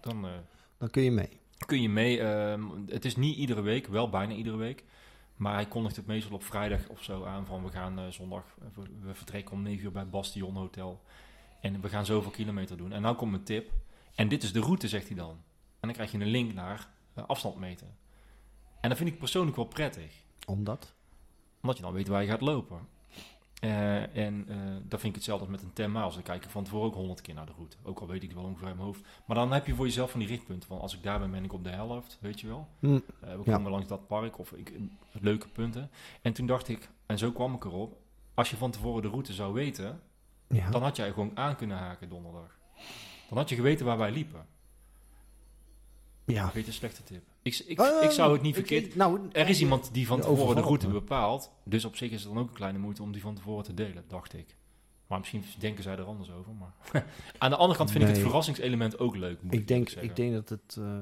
Speaker 3: dan eh,
Speaker 2: Dan kun je mee.
Speaker 3: kun je mee. ehm, het is niet iedere week, wel bijna iedere week. Maar hij kondigt het meestal op vrijdag of zo aan van we gaan eh, zondag, eh, we, we vertrekken om 9 uur bij Bastion Hotel. En we gaan zoveel kilometer doen. En nou komt mijn tip. En dit is de route, zegt hij dan. En dan krijg je een link naar eh, afstand meten. En dat vind ik persoonlijk wel prettig.
Speaker 2: Omdat?
Speaker 3: Omdat je dan weet waar je gaat lopen. Eh, en eh dat vind ik hetzelfde als met een 10 miles. Dan kijk ik van tevoren ook 100 keer naar de route. Ook al weet ik het wel ongeveer uit mijn hoofd. Maar dan heb je voor jezelf van die richtpunten. Van als ik daar ben, ben ik op de helft. Weet je wel.
Speaker 2: Hm.
Speaker 3: Eh, we
Speaker 2: Ja.
Speaker 3: komen langs dat park of ik, eh, leuke punten. En toen dacht ik, en zo kwam ik erop. Als je van tevoren de route zou weten,
Speaker 2: Ja.
Speaker 3: dan had jij gewoon aan kunnen haken donderdag. Dan had je geweten waar wij liepen.
Speaker 2: ja.
Speaker 3: Weet een slechte tip. Ik, ik,
Speaker 2: Oh,
Speaker 3: ik zou het niet
Speaker 2: ik-
Speaker 3: verkeerd...
Speaker 2: ik- nou,
Speaker 3: Er is iemand die van
Speaker 2: Ja,
Speaker 3: tevoren de
Speaker 2: overvalt
Speaker 3: route
Speaker 2: me.
Speaker 3: bepaalt. Dus op zich is het dan ook een kleine moeite om die van tevoren te delen, dacht ik. Maar misschien denken zij er anders over. Maar aan de andere kant vind ik het
Speaker 2: Nee.
Speaker 3: verrassingselement ook leuk. moet
Speaker 2: Ik denk,
Speaker 3: eerlijk
Speaker 2: ik
Speaker 3: zeggen.
Speaker 2: denk dat, het, eh,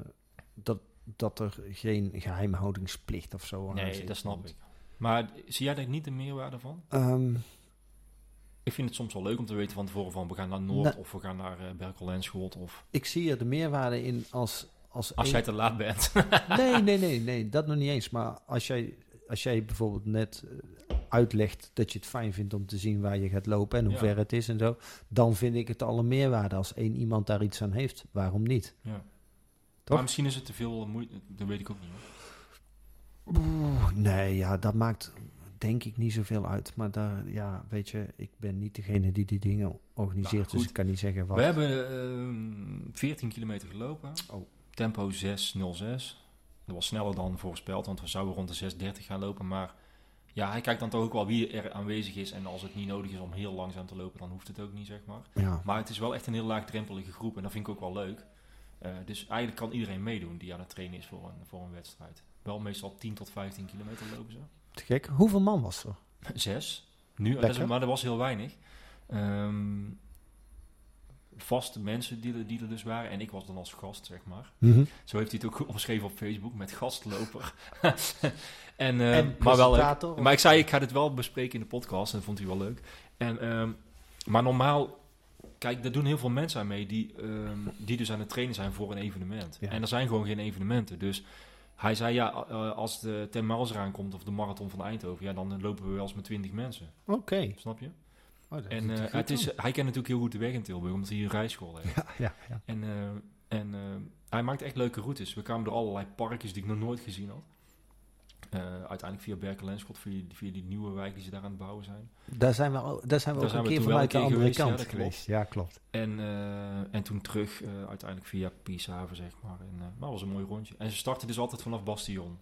Speaker 2: dat, dat er geen geheimhoudingsplicht of zo aan
Speaker 3: Nee,
Speaker 2: zit.
Speaker 3: dat snap ik. Maar zie jij daar niet de meerwaarde van?
Speaker 2: Ehm,
Speaker 3: Ik vind het soms wel leuk om te weten van tevoren van we gaan naar Noord
Speaker 2: Nou.
Speaker 3: of we gaan naar eh Berkel-Lenschot. Of
Speaker 2: ik zie er de meerwaarde in als... Als,
Speaker 3: als
Speaker 2: één-
Speaker 3: jij te laat bent.
Speaker 2: Nee, nee, nee, nee, dat nog niet eens. Maar als jij, als jij bijvoorbeeld net eh, uitlegt dat je het fijn vindt om te zien waar je gaat lopen en hoe
Speaker 3: Ja.
Speaker 2: ver het is en zo, dan vind ik het alle meerwaarde als één iemand daar iets aan heeft. Waarom niet?
Speaker 3: ja.
Speaker 2: Toch?
Speaker 3: Maar misschien is het te veel moeite. Dat weet ik ook niet. hoor.
Speaker 2: Oeh, nee, ja, dat maakt denk ik niet zoveel uit. Maar daar, ja, weet je, ik ben niet degene die die dingen organiseert,
Speaker 3: Nou,
Speaker 2: dus
Speaker 3: goed.
Speaker 2: ik kan niet zeggen wat.
Speaker 3: We hebben ehm, 14 kilometer gelopen.
Speaker 2: Oh.
Speaker 3: Tempo 606. Dat was sneller dan voorspeld, want we zouden rond de 6.30 gaan lopen. Maar ja, hij kijkt dan toch ook wel wie er aanwezig is. En als het niet nodig is om heel langzaam te lopen, dan hoeft het ook niet, zeg maar.
Speaker 2: Ja.
Speaker 3: Maar het is wel echt een heel laagdrempelige groep en dat vind ik ook wel leuk. Eh, dus eigenlijk kan iedereen meedoen die aan het trainen is voor een, voor een wedstrijd. Wel meestal 10 tot 15 kilometer lopen ze.
Speaker 2: Te gek. Hoeveel man was er?
Speaker 3: Zes. Nu, dat
Speaker 2: Lekker.
Speaker 3: is- maar dat was heel weinig. Ehm vaste mensen die er, die er dus waren. En ik was dan als gast, zeg maar. Zo heeft hij het ook omschreven op Facebook met gastloper. en, ehm,
Speaker 2: En
Speaker 3: maar wel leuk.
Speaker 2: presentator, of-
Speaker 3: Maar ik zei, ik ga dit wel bespreken in de podcast. En dat vond hij wel leuk. En, ehm, maar normaal... Kijk, daar doen heel veel mensen aan mee die, ehm, die dus aan het trainen zijn voor een evenement.
Speaker 2: Ja.
Speaker 3: En er zijn gewoon geen evenementen. Dus hij zei, ja, eh, als de Ten Miles eraan komt of de Marathon van Eindhoven... ja, dan lopen we wel eens met twintig mensen.
Speaker 2: Oké.
Speaker 3: Snap je?
Speaker 2: Oh, dat
Speaker 3: En
Speaker 2: doet
Speaker 3: eh,
Speaker 2: hij goed
Speaker 3: het is,
Speaker 2: dan.
Speaker 3: hij kent natuurlijk heel goed de weg in Tilburg, omdat hij een rijschool heeft.
Speaker 2: Ja, ja, ja.
Speaker 3: En, eh, en eh, hij maakt echt leuke routes. We kwamen door allerlei parkjes die ik nog nooit gezien had. Eh, uiteindelijk via Berkel en Schot, via, via die nieuwe wijk die ze daar aan het bouwen zijn.
Speaker 2: Daar zijn we, al- daar zijn we
Speaker 3: Daar
Speaker 2: ook een
Speaker 3: zijn we
Speaker 2: keer
Speaker 3: toen wel
Speaker 2: vanuit
Speaker 3: een
Speaker 2: de
Speaker 3: keer
Speaker 2: andere
Speaker 3: geweest, ja,
Speaker 2: kant
Speaker 3: dat klopt.
Speaker 2: geweest. Ja, klopt.
Speaker 3: En, eh, en toen terug, eh, uiteindelijk via Pieshaven, zeg maar. En, eh, maar dat was een mooi rondje. En ze starten dus altijd vanaf Bastion.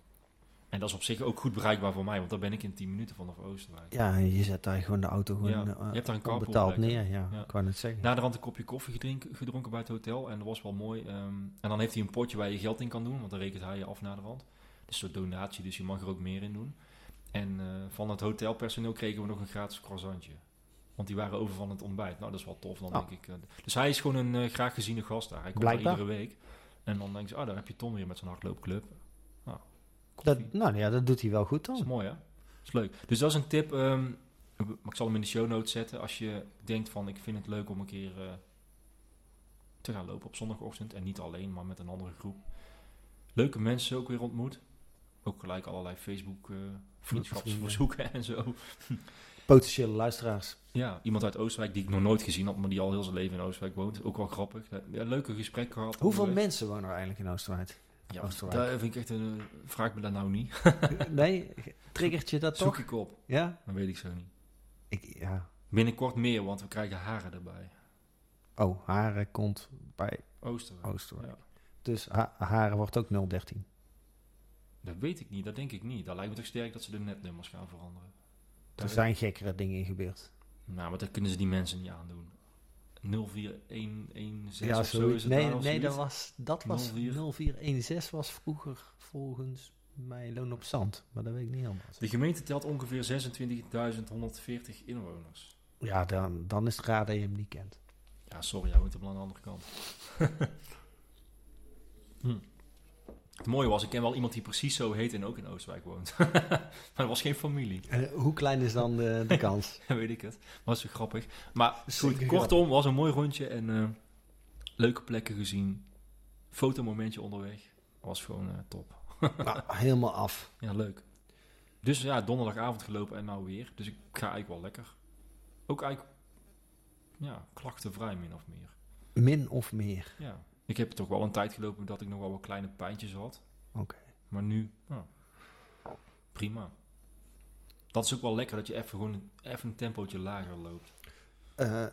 Speaker 3: En dat is op zich ook goed bereikbaar voor mij, want daar ben ik in 10 minuten vanaf Oostenrijk.
Speaker 2: Ja, en je zet daar gewoon de auto gewoon
Speaker 3: Ja,
Speaker 2: eh,
Speaker 3: je hebt daar een carpool
Speaker 2: onbetaald
Speaker 3: plek, hè?
Speaker 2: neer. Ja,
Speaker 3: Ja. Nou,
Speaker 2: ik wou net zeggen.
Speaker 3: Naderhand een kopje koffie gedrink- gedronken bij het hotel. En dat was wel mooi. ehm, en dan heeft hij een potje waar je geld in kan doen. Want dan rekent hij je af naderhand. Het is een soort donatie, dus je mag er ook meer in doen. En eh, van het hotelpersoneel kregen we nog een gratis croissantje. Want die waren over van het ontbijt. Nou, dat is wel tof dan,
Speaker 2: Oh.
Speaker 3: denk ik. eh. Dus hij is gewoon een eh, graag geziene gast daar. Hij komt daar
Speaker 2: Blijkbaar.
Speaker 3: iedere week. En dan denk je, ah, daar heb je Tom weer met zijn hardloopclub. Nou, koffie.
Speaker 2: dat, nou ja, dat doet hij wel goed
Speaker 3: Dat is
Speaker 2: dan.
Speaker 3: mooi, hè? Dat is leuk. Dus dat is een tip. ehm, ik zal hem in de show notes zetten. Als je denkt van, ik vind het leuk om een keer eh, te gaan lopen op zondagochtend. En niet alleen, maar met een andere groep. Leuke mensen ook weer ontmoet. Ook gelijk allerlei Facebook eh, vriendschapsverzoeken en zo.
Speaker 2: Potentiële luisteraars.
Speaker 3: Ja, iemand uit Oostenrijk die ik nog nooit gezien had, maar die al heel zijn leven in Oostenrijk woont. Ook wel grappig. Ja, leuke gesprekken gehad.
Speaker 2: Hoeveel
Speaker 3: onderweg.
Speaker 2: mensen wonen er eigenlijk in Oostenrijk?
Speaker 3: Ja,
Speaker 2: Oostenrijk?
Speaker 3: daar vind ik echt een... eh, Vraag me dat nou niet.
Speaker 2: nee, triggert je dat
Speaker 3: Zoek
Speaker 2: toch?
Speaker 3: ik op.
Speaker 2: Ja?
Speaker 3: Dan weet ik zo niet.
Speaker 2: Ik, ja.
Speaker 3: Binnenkort meer, want we krijgen haren erbij.
Speaker 2: Oh, Haren komt bij
Speaker 3: Oostenrijk.
Speaker 2: Oostenrijk.
Speaker 3: Ja.
Speaker 2: Dus ha Haren wordt ook 013.
Speaker 3: Dat weet ik niet, dat denk ik niet. Dat lijkt me toch sterk dat ze de netnummers gaan veranderen.
Speaker 2: Er
Speaker 3: Daar-
Speaker 2: zijn gekkere dingen in gebeurd.
Speaker 3: Nou, maar dat kunnen ze die mensen niet aandoen. 04116
Speaker 2: Ja,
Speaker 3: of zo
Speaker 2: zoiets.
Speaker 3: is het
Speaker 2: nee,
Speaker 3: daar of
Speaker 2: nee dat
Speaker 3: zoiets.
Speaker 2: was, dat was
Speaker 3: 04.
Speaker 2: 0416 was vroeger volgens mij Loon op Zand. Maar dat weet ik niet helemaal.
Speaker 3: De gemeente telt ongeveer 26.140 inwoners.
Speaker 2: Ja, dan, dan is het raar dat je hem niet kent.
Speaker 3: Ja, sorry, jij woont helemaal aan de andere kant. Hm. Het mooie was, ik ken wel iemand die precies zo heet en ook in Oostenrijk woont. maar dat was geen familie,
Speaker 2: Eh, hoe klein is dan de, de kans?
Speaker 3: weet ik het. Was zo grappig. Maar
Speaker 2: Zeker
Speaker 3: goed, kortom, was een mooi rondje en eh, leuke plekken gezien. Fotomomentje onderweg. Was gewoon eh, top.
Speaker 2: Nou, helemaal af.
Speaker 3: Ja, leuk. Dus ja, donderdagavond gelopen en nou weer. Dus ik ga eigenlijk wel lekker. Ook eigenlijk ja, klachtenvrij min of meer.
Speaker 2: Min of meer.
Speaker 3: Ja. Ik heb toch wel een tijd gelopen dat ik nog wel wat kleine pijntjes had.
Speaker 2: Oké.
Speaker 3: Maar nu, nou, prima. Dat is ook wel lekker dat je even gewoon even een tempootje lager loopt.
Speaker 2: Eh,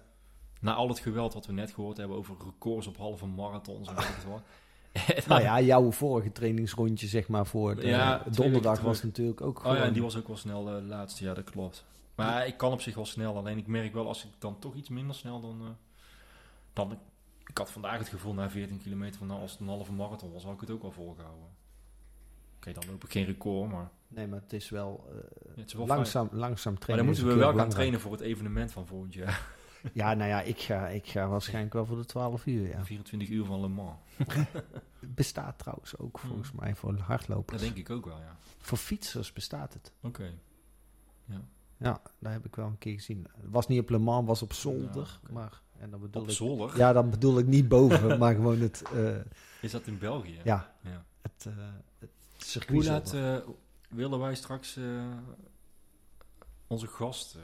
Speaker 3: Na al het geweld wat we net gehoord hebben over records op halve marathons
Speaker 2: Ah,
Speaker 3: en weet ik het wat.
Speaker 2: nou ja, jouw vorige trainingsrondje, zeg maar, voor de-
Speaker 3: Ja, twee
Speaker 2: donderdag
Speaker 3: weken
Speaker 2: was
Speaker 3: terug.
Speaker 2: natuurlijk ook
Speaker 3: Oh
Speaker 2: gewoon...
Speaker 3: ja, en die was ook wel snel eh, de laatste. Ja, dat klopt. Maar ik kan op zich wel snel. Alleen ik merk wel, als ik dan toch iets minder snel dan... eh, dan ik, ik had vandaag het gevoel na 14 kilometer van... Nou, als het een halve marathon was, had ik het ook wel volgehouden. dan loop ik geen record, maar...
Speaker 2: Nee, maar het is wel, eh,
Speaker 3: Ja, het is wel
Speaker 2: langzaam, langzaam trainen.
Speaker 3: Maar dan
Speaker 2: is
Speaker 3: moeten we
Speaker 2: een
Speaker 3: wel
Speaker 2: keer
Speaker 3: gaan
Speaker 2: belangrijk.
Speaker 3: trainen voor het evenement van volgend jaar.
Speaker 2: Ja, nou ja, ik ga, ik ga waarschijnlijk wel voor de 12 uur. Ja.
Speaker 3: 24 uur van Le Mans.
Speaker 2: Het bestaat trouwens ook volgens mij voor
Speaker 3: Mm. Dat
Speaker 2: hardlopers.
Speaker 3: denk ik ook wel, ja.
Speaker 2: Voor fietsers bestaat het.
Speaker 3: Oké.
Speaker 2: Ja, daar heb ik wel een keer gezien. Het was niet op Le Mans, het was op zolder.
Speaker 3: Ja, oké.
Speaker 2: Maar, en dan bedoel
Speaker 3: Op
Speaker 2: ik,
Speaker 3: zolder?
Speaker 2: ja, dan bedoel ik niet boven, maar gewoon het, eh,
Speaker 3: Is dat in België?
Speaker 2: ja,
Speaker 3: Ja.
Speaker 2: het, eh het circuit
Speaker 3: Hoe laat
Speaker 2: zolder.
Speaker 3: eh, willen wij straks eh, onze gast eh,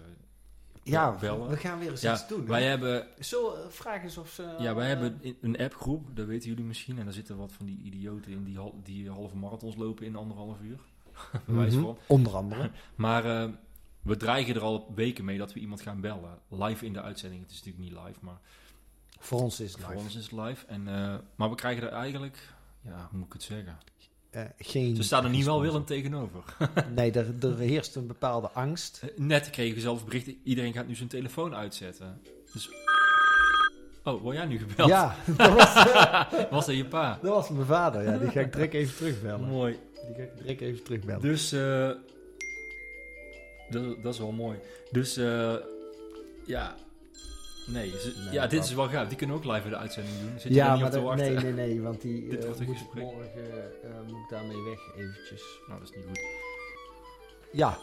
Speaker 2: ja,
Speaker 3: bellen?
Speaker 2: we gaan weer eens
Speaker 3: Ja,
Speaker 2: iets doen.
Speaker 3: wij hebben
Speaker 2: Zo, vraag eh, eens of ze...
Speaker 3: Ja, wij
Speaker 2: eh,
Speaker 3: hebben in- een appgroep, dat weten jullie misschien. En daar zitten wat van die idioten in die, hal- die halve marathons lopen in anderhalf uur. Bij wijze
Speaker 2: mhm,
Speaker 3: van.
Speaker 2: Onder andere.
Speaker 3: Maar eh, we dreigen er al weken mee dat we iemand gaan bellen. Live in de uitzending. Het is natuurlijk niet live, maar
Speaker 2: Voor ons is het
Speaker 3: voor
Speaker 2: live.
Speaker 3: ons is het live. En, eh, maar we krijgen er eigenlijk, ja, hoe moet ik het zeggen?
Speaker 2: Eh, geen
Speaker 3: Ze staan er niet wel
Speaker 2: sponsor.
Speaker 3: Willem tegenover.
Speaker 2: Nee, er, er heerst een bepaalde angst.
Speaker 3: Eh, Net kregen we zelf bericht, iedereen gaat nu zijn telefoon uitzetten. Dus... Oh, word jij nu gebeld?
Speaker 2: Ja, dat was, eh,
Speaker 3: Was dat je pa?
Speaker 2: dat was mijn vader. Ja, die ga ik direct even terugbellen.
Speaker 3: Mooi.
Speaker 2: Die ga ik direct even terugbellen.
Speaker 3: Dus, eh, dat, dat is wel mooi. Dus, eh, ja. Nee, ze-
Speaker 2: Nee,
Speaker 3: ja, dit
Speaker 2: dat-
Speaker 3: is wel gaaf. Die kunnen ook live in de uitzending doen. Zit je
Speaker 2: ja,
Speaker 3: er niet
Speaker 2: maar
Speaker 3: op te
Speaker 2: dat-
Speaker 3: wachten?
Speaker 2: nee, nee, nee, want die
Speaker 3: Dit
Speaker 2: eh,
Speaker 3: wordt een
Speaker 2: moet ik
Speaker 3: gesprek.
Speaker 2: morgen eh, moet ik daarmee weg eventjes.
Speaker 3: Nou, dat is niet goed.
Speaker 2: Ja,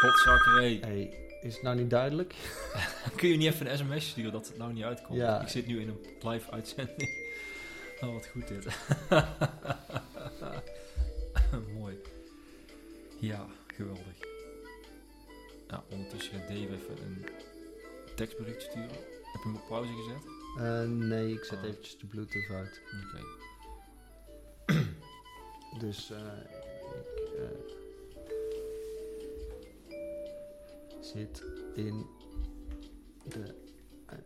Speaker 3: Godzakkeré.
Speaker 2: hey, is het nou niet duidelijk?
Speaker 3: Kun je niet even een sms sturen dat het nou niet uitkomt?
Speaker 2: Ja.
Speaker 3: Ik zit nu in een live uitzending. Oh, wat goed dit. mooi. Ja, geweldig. Nou, ondertussen gaat Dave even een tekstbericht sturen. Heb je hem op pauze gezet?
Speaker 2: Eh, nee, ik zet
Speaker 3: Oh.
Speaker 2: eventjes de Bluetooth uit.
Speaker 3: Oké.
Speaker 2: Dus eh, ik eh, zit in de. eh,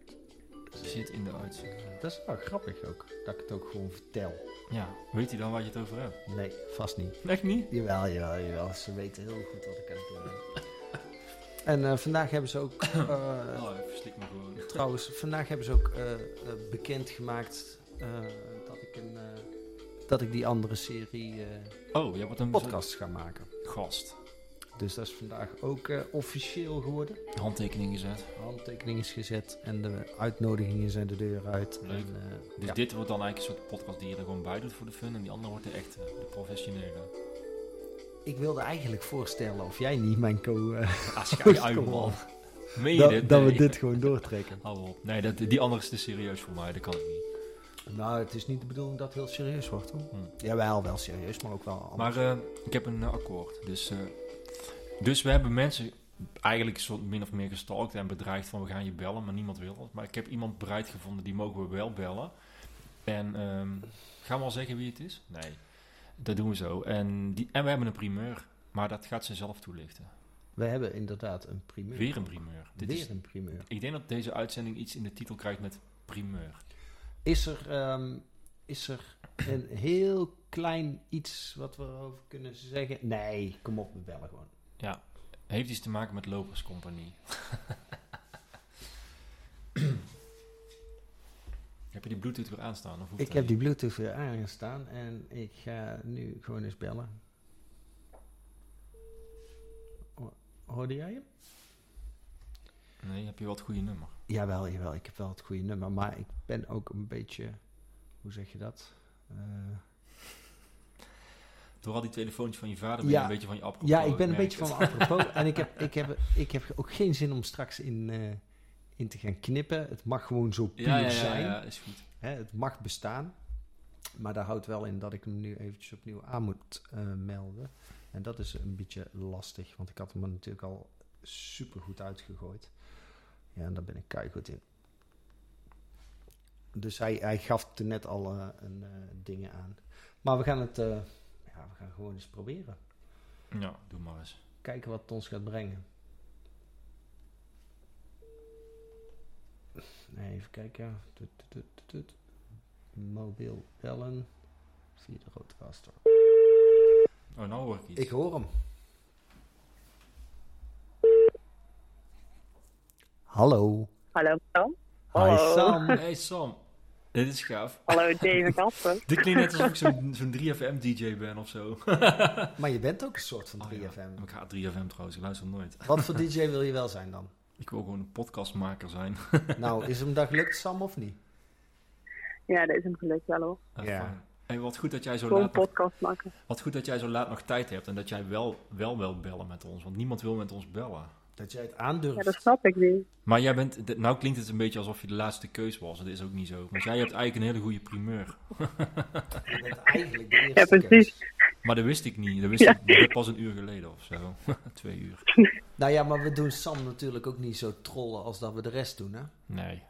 Speaker 3: Zit in de uitzending.
Speaker 2: Dat is wel grappig ook, dat ik het ook gewoon vertel.
Speaker 3: Ja, weet hij dan waar je het over hebt?
Speaker 2: Nee, vast niet.
Speaker 3: Echt niet?
Speaker 2: Jawel, jawel, jawel. Ze weten heel goed wat ik aan het doen ben. En eh, vandaag hebben ze ook, eh,
Speaker 3: Oh, verslik me gewoon.
Speaker 2: trouwens, vandaag hebben ze ook eh, eh, bekendgemaakt eh, dat, ik een, eh, dat ik die andere serie eh,
Speaker 3: Oh, jij wordt een
Speaker 2: podcasts ga maken.
Speaker 3: gast.
Speaker 2: Dus dat is vandaag ook eh, officieel geworden.
Speaker 3: Handtekening gezet.
Speaker 2: Handtekening is gezet en de uitnodigingen zijn de deur uit.
Speaker 3: Leuk.
Speaker 2: En, eh,
Speaker 3: Dus
Speaker 2: ja.
Speaker 3: dit wordt dan eigenlijk een soort podcast die je er gewoon bij doet voor de fun. En die andere wordt de echte, de professionele.
Speaker 2: Ik wilde eigenlijk voorstellen of jij niet mijn co... eh,
Speaker 3: Ah, schijn uit
Speaker 2: Kom
Speaker 3: man.
Speaker 2: op.
Speaker 3: Meen je
Speaker 2: dat,
Speaker 3: dit?
Speaker 2: dat we
Speaker 3: Nee.
Speaker 2: dit gewoon doortrekken.
Speaker 3: Hou op. Nee, dat, die andere is te serieus voor mij. Dat kan ik niet.
Speaker 2: Nou, het is niet de bedoeling dat het heel serieus wordt, hoor.
Speaker 3: Hm.
Speaker 2: Jawel, wel serieus, maar ook wel anders.
Speaker 3: Maar eh, ik heb een eh, akkoord. Dus, eh, dus we hebben mensen eigenlijk een soort min of meer gestalkt en bedreigd van we gaan je bellen, maar niemand wil dat. Maar ik heb iemand bereid gevonden die mogen we wel bellen. En ehm, gaan we al zeggen wie het is? Nee, dat doen we zo. En, die, en we hebben een primeur, maar dat gaat ze zelf toelichten.
Speaker 2: We hebben inderdaad een primeur.
Speaker 3: Weer een primeur. Dit
Speaker 2: Weer
Speaker 3: is,
Speaker 2: een primeur.
Speaker 3: ik denk dat deze uitzending iets in de titel krijgt met primeur.
Speaker 2: Is er, ehm, is er een heel klein iets wat we erover kunnen zeggen? Nee, kom op, we bellen gewoon.
Speaker 3: Ja, heeft iets te maken met loperscompagnie. heb je die Bluetooth weer aanstaan? Of hoeft
Speaker 2: Ik
Speaker 3: dat
Speaker 2: heb die
Speaker 3: niet?
Speaker 2: Bluetooth weer aangestaan en ik ga nu gewoon eens bellen. Ho- Hoorde jij hem?
Speaker 3: Nee, heb je wel het goede nummer?
Speaker 2: Jawel, jawel, ik heb wel het goede nummer, maar ik ben ook een beetje, hoe zeg je dat? Eh,
Speaker 3: Door al die telefoontjes van je vader ben je
Speaker 2: Ja.
Speaker 3: een beetje van je apropos.
Speaker 2: Ja, ik ben een
Speaker 3: merk
Speaker 2: beetje van
Speaker 3: het.
Speaker 2: me apropos. en ik heb, ik, heb, ik heb ook geen zin om straks in, eh, in te gaan knippen. Het mag gewoon zo puur
Speaker 3: Ja, ja, ja,
Speaker 2: zijn.
Speaker 3: ja, is goed.
Speaker 2: Hè, het mag bestaan. Maar daar houdt wel in dat ik hem nu eventjes opnieuw aan moet eh, melden. En dat is een beetje lastig, want ik had hem er natuurlijk al super goed uitgegooid. Ja, en daar ben ik keihard in. Dus hij, hij gaf er net al eh, een, eh, dingen aan. Maar we gaan het eh, ja, we gaan gewoon eens proberen.
Speaker 3: Ja, doe maar eens.
Speaker 2: Kijken wat het ons gaat brengen. Nee, even kijken. Tut, tut, tut, tut, tut. Mobiel bellen via de roadcaster.
Speaker 3: Oh, nou hoor ik iets.
Speaker 2: Ik hoor hem. Hallo.
Speaker 4: Hallo. Hallo.
Speaker 2: Hi Sam.
Speaker 3: Hey Sam, Dit is gaaf.
Speaker 4: Hallo, David Appen.
Speaker 3: Dit klinkt net alsof ik zo'n zo'n 3FM-DJ ben of zo.
Speaker 2: Maar je bent ook een soort van
Speaker 3: Oh,
Speaker 2: 3FM.
Speaker 3: ja. Ik ga 3FM trouwens, ik luister nooit.
Speaker 2: Wat voor DJ wil je wel zijn dan?
Speaker 3: Ik wil gewoon een podcastmaker zijn.
Speaker 2: Nou, is hem dat gelukt, Sam, of niet?
Speaker 4: Ja, dat is hem gelukt wel hoor.
Speaker 3: Ah,
Speaker 2: Ja.
Speaker 3: fijn. Hey, wat, goed dat jij zo
Speaker 4: Gewoon een
Speaker 3: laat nog,
Speaker 4: podcast maken.
Speaker 3: wat goed dat jij zo laat nog tijd hebt en dat jij wel wel wil bellen met ons. Want niemand wil met ons bellen.
Speaker 2: Dat jij het
Speaker 4: Ja, dat
Speaker 2: aandurft.
Speaker 4: snap ik niet.
Speaker 3: Maar jij bent, d- nou klinkt het een beetje alsof je de laatste keus was. Dat is ook niet zo. Want jij hebt eigenlijk een hele goede primeur.
Speaker 2: Je bent eigenlijk de eerste
Speaker 4: Ja,
Speaker 2: keus.
Speaker 4: precies.
Speaker 3: Maar dat wist ik niet. Dat wist
Speaker 4: Ja.
Speaker 3: ik pas een uur geleden of zo. Twee uur.
Speaker 2: Nou ja, maar we doen Sam natuurlijk ook niet zo trollen als dat we de rest doen, hè? Dus
Speaker 3: Nee.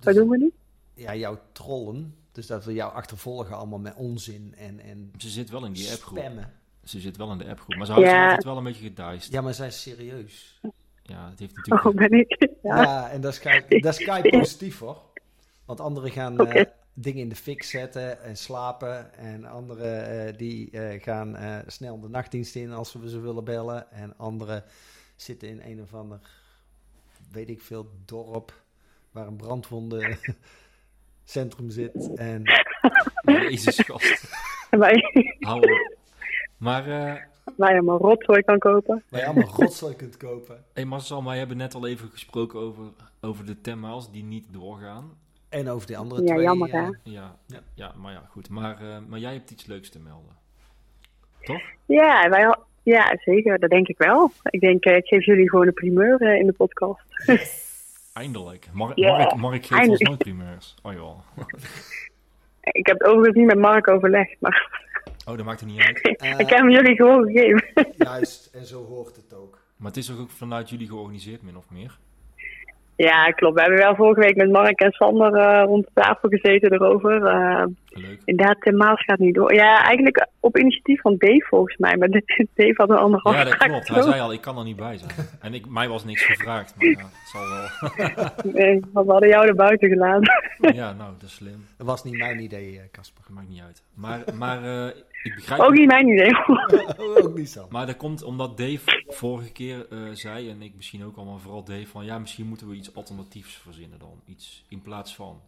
Speaker 4: Wat doen we nu?
Speaker 2: Ja, jou trollen. Dus dat we jou achtervolgen allemaal met onzin en, en
Speaker 3: Ze zit wel in die appgroep.
Speaker 2: spammen.
Speaker 3: Ze zit wel in de appgroep. Maar ze houdt
Speaker 4: Ja.
Speaker 3: zich altijd wel een beetje gediced. Ja.
Speaker 2: Ja, maar zij is serieus.
Speaker 3: het heeft natuurlijk...
Speaker 4: Oh, ben ik.
Speaker 2: Ja,
Speaker 4: Ja.
Speaker 2: en dat is Sky, dat is Sky positief, hoor. Want anderen gaan eh,
Speaker 4: Oké.
Speaker 2: dingen in de fik zetten en slapen. En anderen eh, die eh, gaan eh, snel de nachtdienst in als we ze willen bellen. En anderen zitten in een of ander, weet ik veel, dorp waar een brandwondencentrum zit. En
Speaker 3: Jezus, gast.
Speaker 4: Waar, je,
Speaker 3: Hou op. Maar, eh
Speaker 4: waar je allemaal rotzooi kan kopen.
Speaker 2: waar je allemaal rotzooi kunt kopen.
Speaker 3: hey Marcel, wij hebben net al even gesproken over, over de 10 miles die niet doorgaan.
Speaker 2: En over die andere
Speaker 4: Ja,
Speaker 2: twee.
Speaker 4: jammer,
Speaker 2: eh,
Speaker 4: hè?
Speaker 3: Ja,
Speaker 2: Ja.
Speaker 3: ja. maar ja, goed. Maar, eh, maar jij hebt iets leuks te melden. Toch?
Speaker 4: Ja, wij, al- ja, zeker. Dat denk ik wel. Ik denk, eh, ik geef jullie gewoon een primeur eh, in de podcast.
Speaker 3: Eindelijk. Mark,
Speaker 4: Ja,
Speaker 3: Mark, Mark geeft ons
Speaker 4: eindelijk.
Speaker 3: nooit primeurs. Oh joh.
Speaker 4: Ik heb het overigens niet met Mark overlegd, maar
Speaker 3: Oh, dat maakt het niet uit.
Speaker 2: eh,
Speaker 4: ik heb hem jullie gewoon gegeven.
Speaker 2: Juist, en zo hoort het ook.
Speaker 3: Maar het is toch ook vanuit jullie georganiseerd, min of meer?
Speaker 4: Ja, klopt. We hebben wel vorige week met Mark en Sander eh, rond de tafel gezeten erover. Eh,
Speaker 3: Leuk.
Speaker 4: inderdaad, Tim Maas gaat niet door. Ja, eigenlijk op initiatief van Dave volgens mij. Maar Dave had een andere
Speaker 3: Ja, dat
Speaker 4: afspraak
Speaker 3: klopt. Hij
Speaker 4: ook.
Speaker 3: zei al, ik kan er niet bij zijn. En ik, mij was niks gevraagd, maar ja, het zal wel.
Speaker 4: Nee, want Eh, we hadden jou er buiten gelaten.
Speaker 3: Ja, nou, dat is slim.
Speaker 2: Dat was niet mijn idee, eh, Casper.
Speaker 3: Dat maakt niet uit. Maar, maar eh, ik begrijp...
Speaker 4: Ook niet mijn idee.
Speaker 2: ook niet zo.
Speaker 3: Maar dat komt omdat Dave vorige keer eh, zei, en ik misschien ook allemaal, vooral Dave, van ja, misschien moeten we iets alternatiefs verzinnen dan. Iets in plaats van.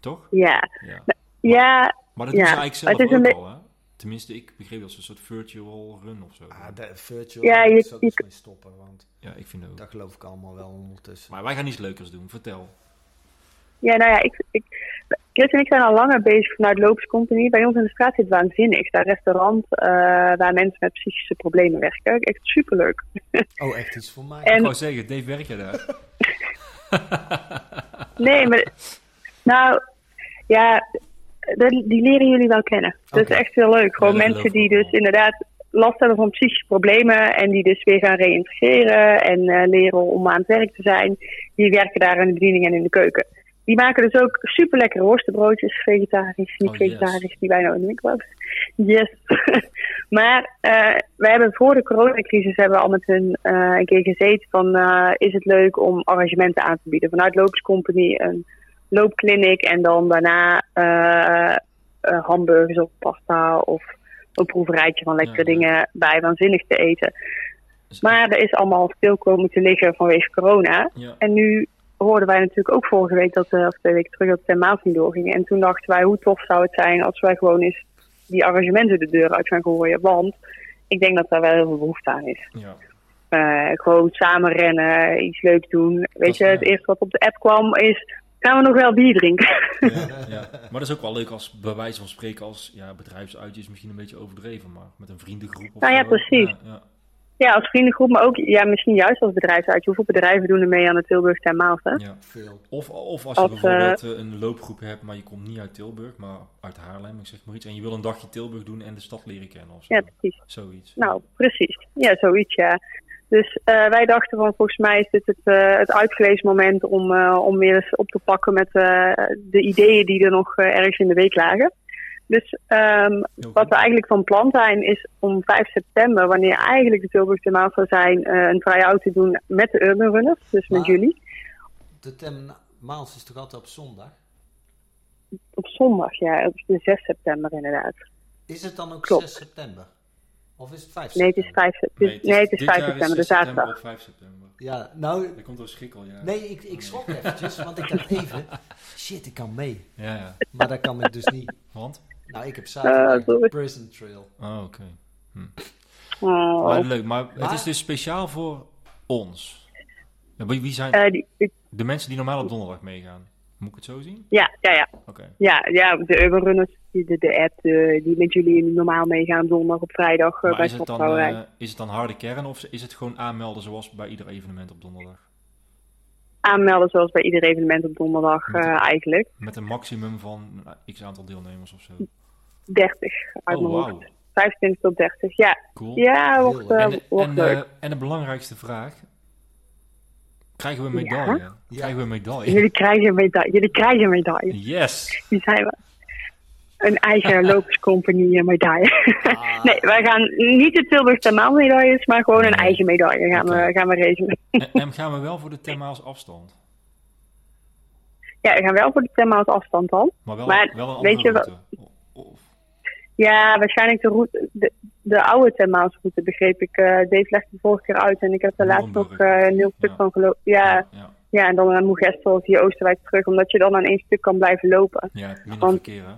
Speaker 3: Toch?
Speaker 4: ja.
Speaker 3: Ja.
Speaker 4: ja,
Speaker 3: Maar dat doen
Speaker 4: Ja,
Speaker 3: ze eigenlijk
Speaker 4: maar het
Speaker 3: zelf
Speaker 4: is
Speaker 3: ook
Speaker 4: een
Speaker 3: al, hè? Tenminste, ik begreep dat ze een soort virtual run of zo.
Speaker 2: Ah,
Speaker 3: doen.
Speaker 2: de virtual
Speaker 4: Ja,
Speaker 2: daar
Speaker 4: je-
Speaker 2: moet ik zo
Speaker 4: je-
Speaker 2: eens mee stoppen, want
Speaker 3: Ja, ik vind het ook.
Speaker 2: dat geloof ik allemaal wel ondertussen.
Speaker 3: Maar wij gaan iets leukers doen, vertel.
Speaker 4: ja, nou ja, ik, ik, Chris en ik zijn al langer bezig vanuit Loops Company. Bij ons in de straat zit waanzinnig. Dat restaurant eh, waar mensen met psychische problemen werken. Echt superleuk.
Speaker 2: Oh, echt iets voor mij.
Speaker 4: En
Speaker 3: Ik wou zeggen, Dave, werk jij daar?
Speaker 4: Nee, maar. Nou, ja, de- die leren jullie wel kennen. Dat
Speaker 2: Oké.
Speaker 4: is echt heel leuk. Gewoon
Speaker 3: Ja, dat
Speaker 4: mensen
Speaker 3: geloof
Speaker 4: die
Speaker 3: ik ook
Speaker 4: dus
Speaker 3: wel.
Speaker 4: inderdaad last hebben van psychische problemen en die dus weer gaan reïntegreren en eh, leren om aan het werk te zijn. Die werken daar in de bediening en in de keuken. Die maken dus ook super lekkere worstenbroodjes, vegetarisch, niet
Speaker 3: Oh, yes.
Speaker 4: vegetarisch, die bijna in de microwave. Yes. maar eh we hebben voor de coronacrisis hebben we al met hun eh, een keer gezeten van eh, is het leuk om arrangementen aan te bieden vanuit Loops Company een loopclinic en dan daarna eh, eh, hamburgers of pasta of een proeverijtje van lekkere
Speaker 3: Ja, ja.
Speaker 4: dingen bij waanzinnig te eten.
Speaker 3: Dus-
Speaker 4: Maar er is allemaal stil komen te liggen vanwege corona.
Speaker 3: Ja.
Speaker 4: En nu hoorden wij natuurlijk ook vorige week, dat, eh, of twee weken terug, dat de maand niet doorging. En toen dachten wij, hoe tof zou het zijn als wij gewoon eens die arrangementen de deur uit gaan gooien. Want ik denk dat daar wel heel veel behoefte aan is.
Speaker 3: ja.
Speaker 4: Eh, gewoon samen rennen, iets leuks doen. Weet je,
Speaker 3: ja.
Speaker 4: het eerste wat op de app kwam is, gaan we nog wel bier drinken?
Speaker 3: Ja, ja. Maar dat is ook wel leuk als, bij wijze van spreken, als ja, bedrijfsuitje is misschien een beetje overdreven, maar met een vriendengroep of
Speaker 4: Nou ja,
Speaker 3: zo.
Speaker 4: precies.
Speaker 3: Ja, ja.
Speaker 4: ja, als vriendengroep, maar ook ja, misschien juist als bedrijfsuitje. Hoeveel bedrijven doen er mee aan het Tilburg ten Maals, hè?
Speaker 3: ja.
Speaker 2: Veel.
Speaker 3: Of, of als je
Speaker 4: Als, eh,
Speaker 3: bijvoorbeeld eh, een loopgroep hebt, maar je komt niet uit Tilburg, maar uit Haarlem, ik zeg maar iets, en je wil een dagje Tilburg doen en de stad leren kennen of zo.
Speaker 4: Ja, precies.
Speaker 3: Zoiets.
Speaker 4: Nou, precies. Ja, zoiets, ja. Dus eh, wij dachten van, volgens mij is dit het, eh het uitgelezen moment om, eh, om weer eens op te pakken met eh, de ideeën die er nog eh, ergens in de week lagen. Dus ehm,
Speaker 3: Heel
Speaker 4: wat
Speaker 3: goed.
Speaker 4: we eigenlijk van plan zijn, is om 5 september, wanneer eigenlijk de Tilburg de maand zou zijn, eh, een try-out te doen met de Urban Runners, dus met
Speaker 2: Maar-
Speaker 4: jullie,
Speaker 2: De Ten Maals is toch altijd op zondag?
Speaker 4: op zondag, ja, op de 6 september inderdaad.
Speaker 2: Is het dan ook
Speaker 4: Klopt.
Speaker 2: 6 september? Of is het 5
Speaker 4: Nee, het
Speaker 2: september?
Speaker 4: is 5, se- het is- dus- nee, het is
Speaker 3: dit
Speaker 4: 5
Speaker 3: jaar
Speaker 4: september, de
Speaker 3: is 6
Speaker 4: zaterdag.
Speaker 3: op 5 september.
Speaker 2: Ja, nou,
Speaker 3: Dat komt door schikkel, ja.
Speaker 2: nee, ik, ik schrok eventjes, want ik dacht even, shit, ik kan mee.
Speaker 3: Ja, ja.
Speaker 2: Maar dat kan ik dus niet.
Speaker 3: Want?
Speaker 2: Nou, ik heb zaterdag
Speaker 4: sorry.
Speaker 2: Prison Trail.
Speaker 3: Oh, oké.
Speaker 4: Oh.
Speaker 3: Maar leuk, maar, het is dus speciaal voor ons. Ja, Wie, wie zijn
Speaker 4: Eh, die- die-
Speaker 3: de mensen die normaal op donderdag meegaan? Moet ik het zo zien?
Speaker 4: ja, ja, ja.
Speaker 3: Oké.
Speaker 4: Ja, ja, de Urban Runners, die- de, de app eh, die met jullie normaal meegaan op donderdag op vrijdag eh,
Speaker 3: Maar
Speaker 4: bij
Speaker 3: is het, dan,
Speaker 4: Stadbrouwerij.
Speaker 3: eh, is het dan harde kern of is het gewoon aanmelden zoals bij ieder evenement op donderdag?
Speaker 4: Aanmelden zoals bij ieder evenement op donderdag
Speaker 3: Met-
Speaker 4: eh, eigenlijk.
Speaker 3: Met een maximum van eh, x aantal deelnemers of zo.
Speaker 4: 30 uit
Speaker 3: Oh,
Speaker 4: mijn
Speaker 3: wauw.
Speaker 4: hoofd. 25 tot 30, ja.
Speaker 3: Cool.
Speaker 4: Ja, wordt, eh,
Speaker 3: En, de,
Speaker 4: wordt
Speaker 3: en, de-
Speaker 4: leuk.
Speaker 3: en de belangrijkste vraag. Krijgen we een medaille? Krijgen we een medaille?
Speaker 4: Jullie krijgen een medaille. Jullie krijgen een medaille.
Speaker 3: Yes!
Speaker 4: Die zijn we. Een eigen loperscompagnie medaille.
Speaker 3: Ah.
Speaker 4: nee, wij gaan niet de Tilburg Termaal medailles, maar gewoon een
Speaker 3: Nee.
Speaker 4: eigen medaille gaan,
Speaker 3: Oké.
Speaker 4: we, gaan we regelen.
Speaker 3: En, en gaan we wel voor de Termaals afstand?
Speaker 4: Ja, we gaan wel voor de Termaals afstand dan.
Speaker 3: Maar wel,
Speaker 4: Maar
Speaker 3: wel een andere
Speaker 4: weet je wat-
Speaker 3: route. Oh, O- Of,
Speaker 4: Ja, waarschijnlijk de, route, de, de oude Termaals route, begreep ik. Eh, Dave legde de vorige keer uit en ik heb er laatst nog
Speaker 3: Moerenburg.
Speaker 4: eh, een heel stuk
Speaker 3: Ja.
Speaker 4: van gelopen. Ja,
Speaker 3: ja,
Speaker 4: ja, en dan eh, naar Moegestel of hier Oosterwijk terug, omdat je dan aan één stuk kan blijven lopen.
Speaker 3: ja, minder
Speaker 4: Want-
Speaker 3: verkeer hè?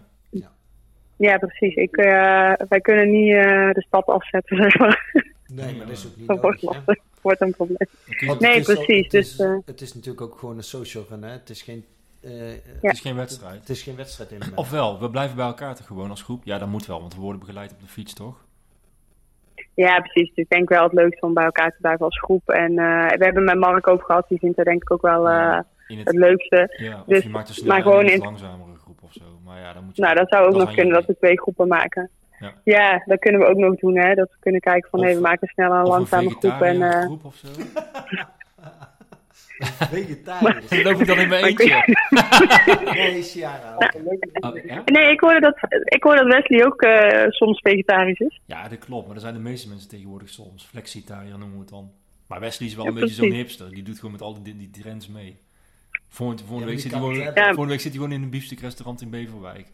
Speaker 4: Ja, precies. Ik, eh, wij kunnen niet eh, de stad afzetten, zeg maar.
Speaker 2: Nee, maar dat is ook niet
Speaker 4: Dat wordt
Speaker 2: nodig. hè?
Speaker 4: lastig. wordt een probleem.
Speaker 3: Dan kun je-
Speaker 2: Want
Speaker 3: Het
Speaker 4: Nee,
Speaker 2: het is al-
Speaker 4: precies,
Speaker 2: het is,
Speaker 4: dus, eh.
Speaker 2: het is natuurlijk ook gewoon een social run, hè? Het is geen, eh, eh,
Speaker 4: Ja.
Speaker 3: is geen wedstrijd.
Speaker 2: het is geen wedstrijd in mijn
Speaker 3: Ofwel, we blijven bij elkaar toch gewoon als groep? Ja, dat moet wel, want we worden begeleid op de fiets, toch?
Speaker 4: Ja, precies. Dus ik denk wel het leukste om bij elkaar te blijven als groep. En eh, we hebben met Mark over gehad. Die vindt dat denk ik ook wel eh,
Speaker 3: In
Speaker 4: het
Speaker 3: het,
Speaker 4: leukste.
Speaker 3: ja, of
Speaker 4: dus-
Speaker 3: je maakt een
Speaker 4: maar
Speaker 3: snelle
Speaker 4: gewoon
Speaker 3: en een
Speaker 4: in-
Speaker 3: langzamere groep of zo. Maar ja, dan moet je...
Speaker 4: Nou, dat zou ook nog
Speaker 3: aan
Speaker 4: kunnen, dat
Speaker 3: jullie.
Speaker 4: we twee groepen maken.
Speaker 3: Ja.
Speaker 4: Ja. dat kunnen we ook nog doen, hè. Dat we kunnen kijken van,
Speaker 3: Of-
Speaker 4: hé, we maken snel een
Speaker 3: Of
Speaker 4: langzame groep. En, eh,
Speaker 3: groep of zo.
Speaker 2: Vegetarisch.
Speaker 3: Dan loop ik dan in mijn
Speaker 4: Maar kun je-
Speaker 3: eentje.
Speaker 2: Nee, Ciara.
Speaker 3: Oh, ja?
Speaker 4: Nee, ik hoor dat, ik hoor dat Wesley ook eh, soms vegetarisch is.
Speaker 3: Ja, dat klopt. Maar dat zijn de meeste mensen tegenwoordig soms. Flexitariër noemen we het dan. Maar Wesley is wel
Speaker 4: Ja,
Speaker 3: een beetje zo'n
Speaker 4: precies.
Speaker 3: hipster. Die doet gewoon met al die, die trends mee. Volgende,
Speaker 2: Ja, maar
Speaker 3: volgende, week
Speaker 2: die
Speaker 3: zit hij
Speaker 2: kan
Speaker 3: gewoon,
Speaker 2: het hebben.
Speaker 4: Ja.
Speaker 3: volgende week zit hij gewoon in een biefstukrestaurant in Beverwijk.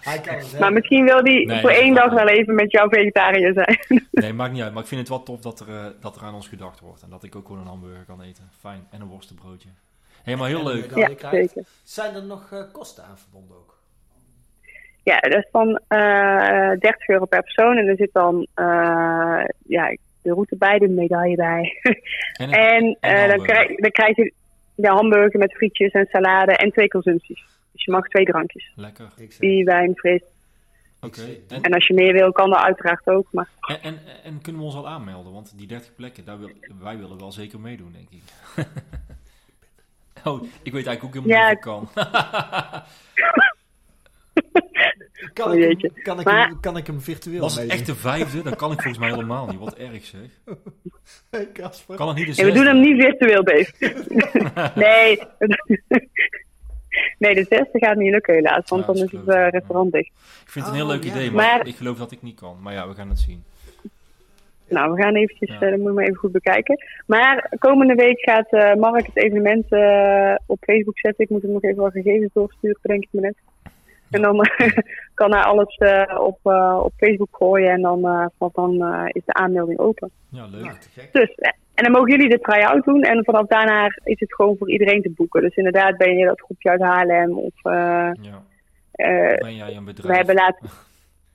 Speaker 2: Hij kan het
Speaker 4: Maar
Speaker 2: hebben.
Speaker 4: misschien wil die
Speaker 3: Nee,
Speaker 4: voor
Speaker 3: dat
Speaker 4: één
Speaker 3: kan
Speaker 4: dag
Speaker 3: wel.
Speaker 4: wel even met jou vegetariër zijn.
Speaker 3: Nee, maakt niet uit. Maar ik vind het wel tof dat er, eh, dat er aan ons gedacht wordt. En dat ik ook gewoon een hamburger kan eten. Fijn. En een worstenbroodje. Helemaal heel
Speaker 2: En een
Speaker 3: leuk.
Speaker 2: medaille
Speaker 4: Ja,
Speaker 2: krijgt.
Speaker 4: zeker.
Speaker 2: Zijn er nog eh, kosten aan verbonden ook?
Speaker 4: Ja, dat is dan eh 30 euro per persoon. En er zit dan eh, ja, de route bij, de medaille bij.
Speaker 3: En, een-
Speaker 4: en eh,
Speaker 3: hamburger.
Speaker 4: dan, krijg, dan krijg je de hamburger met frietjes en salade en twee consumpties. Dus je mag twee drankjes.
Speaker 3: Lekker.
Speaker 2: Ik zeg,
Speaker 4: Bier, wijn, fris.
Speaker 3: Oké. En,
Speaker 4: En als je meer wil, kan dat uiteraard ook. Maar
Speaker 3: en, en, en kunnen we ons al aanmelden? Want die 30 plekken, daar wil, wij willen wel zeker meedoen, denk ik. oh, ik weet eigenlijk ook helemaal
Speaker 4: Ja.
Speaker 3: niet of ik kan.
Speaker 2: kan,
Speaker 4: Oh,
Speaker 2: ik
Speaker 4: jeetje.
Speaker 2: hem, kan, ik
Speaker 4: Maar-
Speaker 2: hem, kan ik hem virtueel
Speaker 3: Was het
Speaker 2: meedoen?
Speaker 3: echt de vijfde? Dan kan ik volgens mij helemaal niet. Wat erg zeg.
Speaker 2: Hey, Casper.
Speaker 3: Kan het niet de
Speaker 4: nee, we
Speaker 3: zesde?
Speaker 4: doen hem niet virtueel, Dave. nee. nee, de zesde gaat niet lukken helaas. Want
Speaker 3: Ja,
Speaker 4: dan
Speaker 3: dat is
Speaker 4: is het
Speaker 3: kloten.
Speaker 4: eh, restaurant dicht.
Speaker 3: Ik vind het een heel
Speaker 2: Oh,
Speaker 3: leuk
Speaker 2: ja.
Speaker 3: idee, maar,
Speaker 4: Maar-
Speaker 3: ik geloof dat ik niet kan. Maar ja, we gaan het zien.
Speaker 4: Nou, we gaan eventjes,
Speaker 3: Ja.
Speaker 4: eh, dat moet ik maar even goed bekijken. Maar komende week gaat eh, Mark het evenement eh, op Facebook zetten. Ik moet hem nog even wat gegevens doorsturen, denk ik me net. En dan eh, kan hij alles eh, op, eh, op Facebook gooien en dan, eh, want dan eh, is de aanmelding open.
Speaker 3: Ja, leuk.
Speaker 2: Nou, te gek.
Speaker 4: Dus, eh, en dan mogen jullie de try-out doen en vanaf daarna is het gewoon voor iedereen te boeken. Dus inderdaad ben je dat groepje uit Haarlem of eh,
Speaker 3: Ja.
Speaker 4: eh,
Speaker 3: Ben jij een bedrijf?
Speaker 4: we hebben laatst.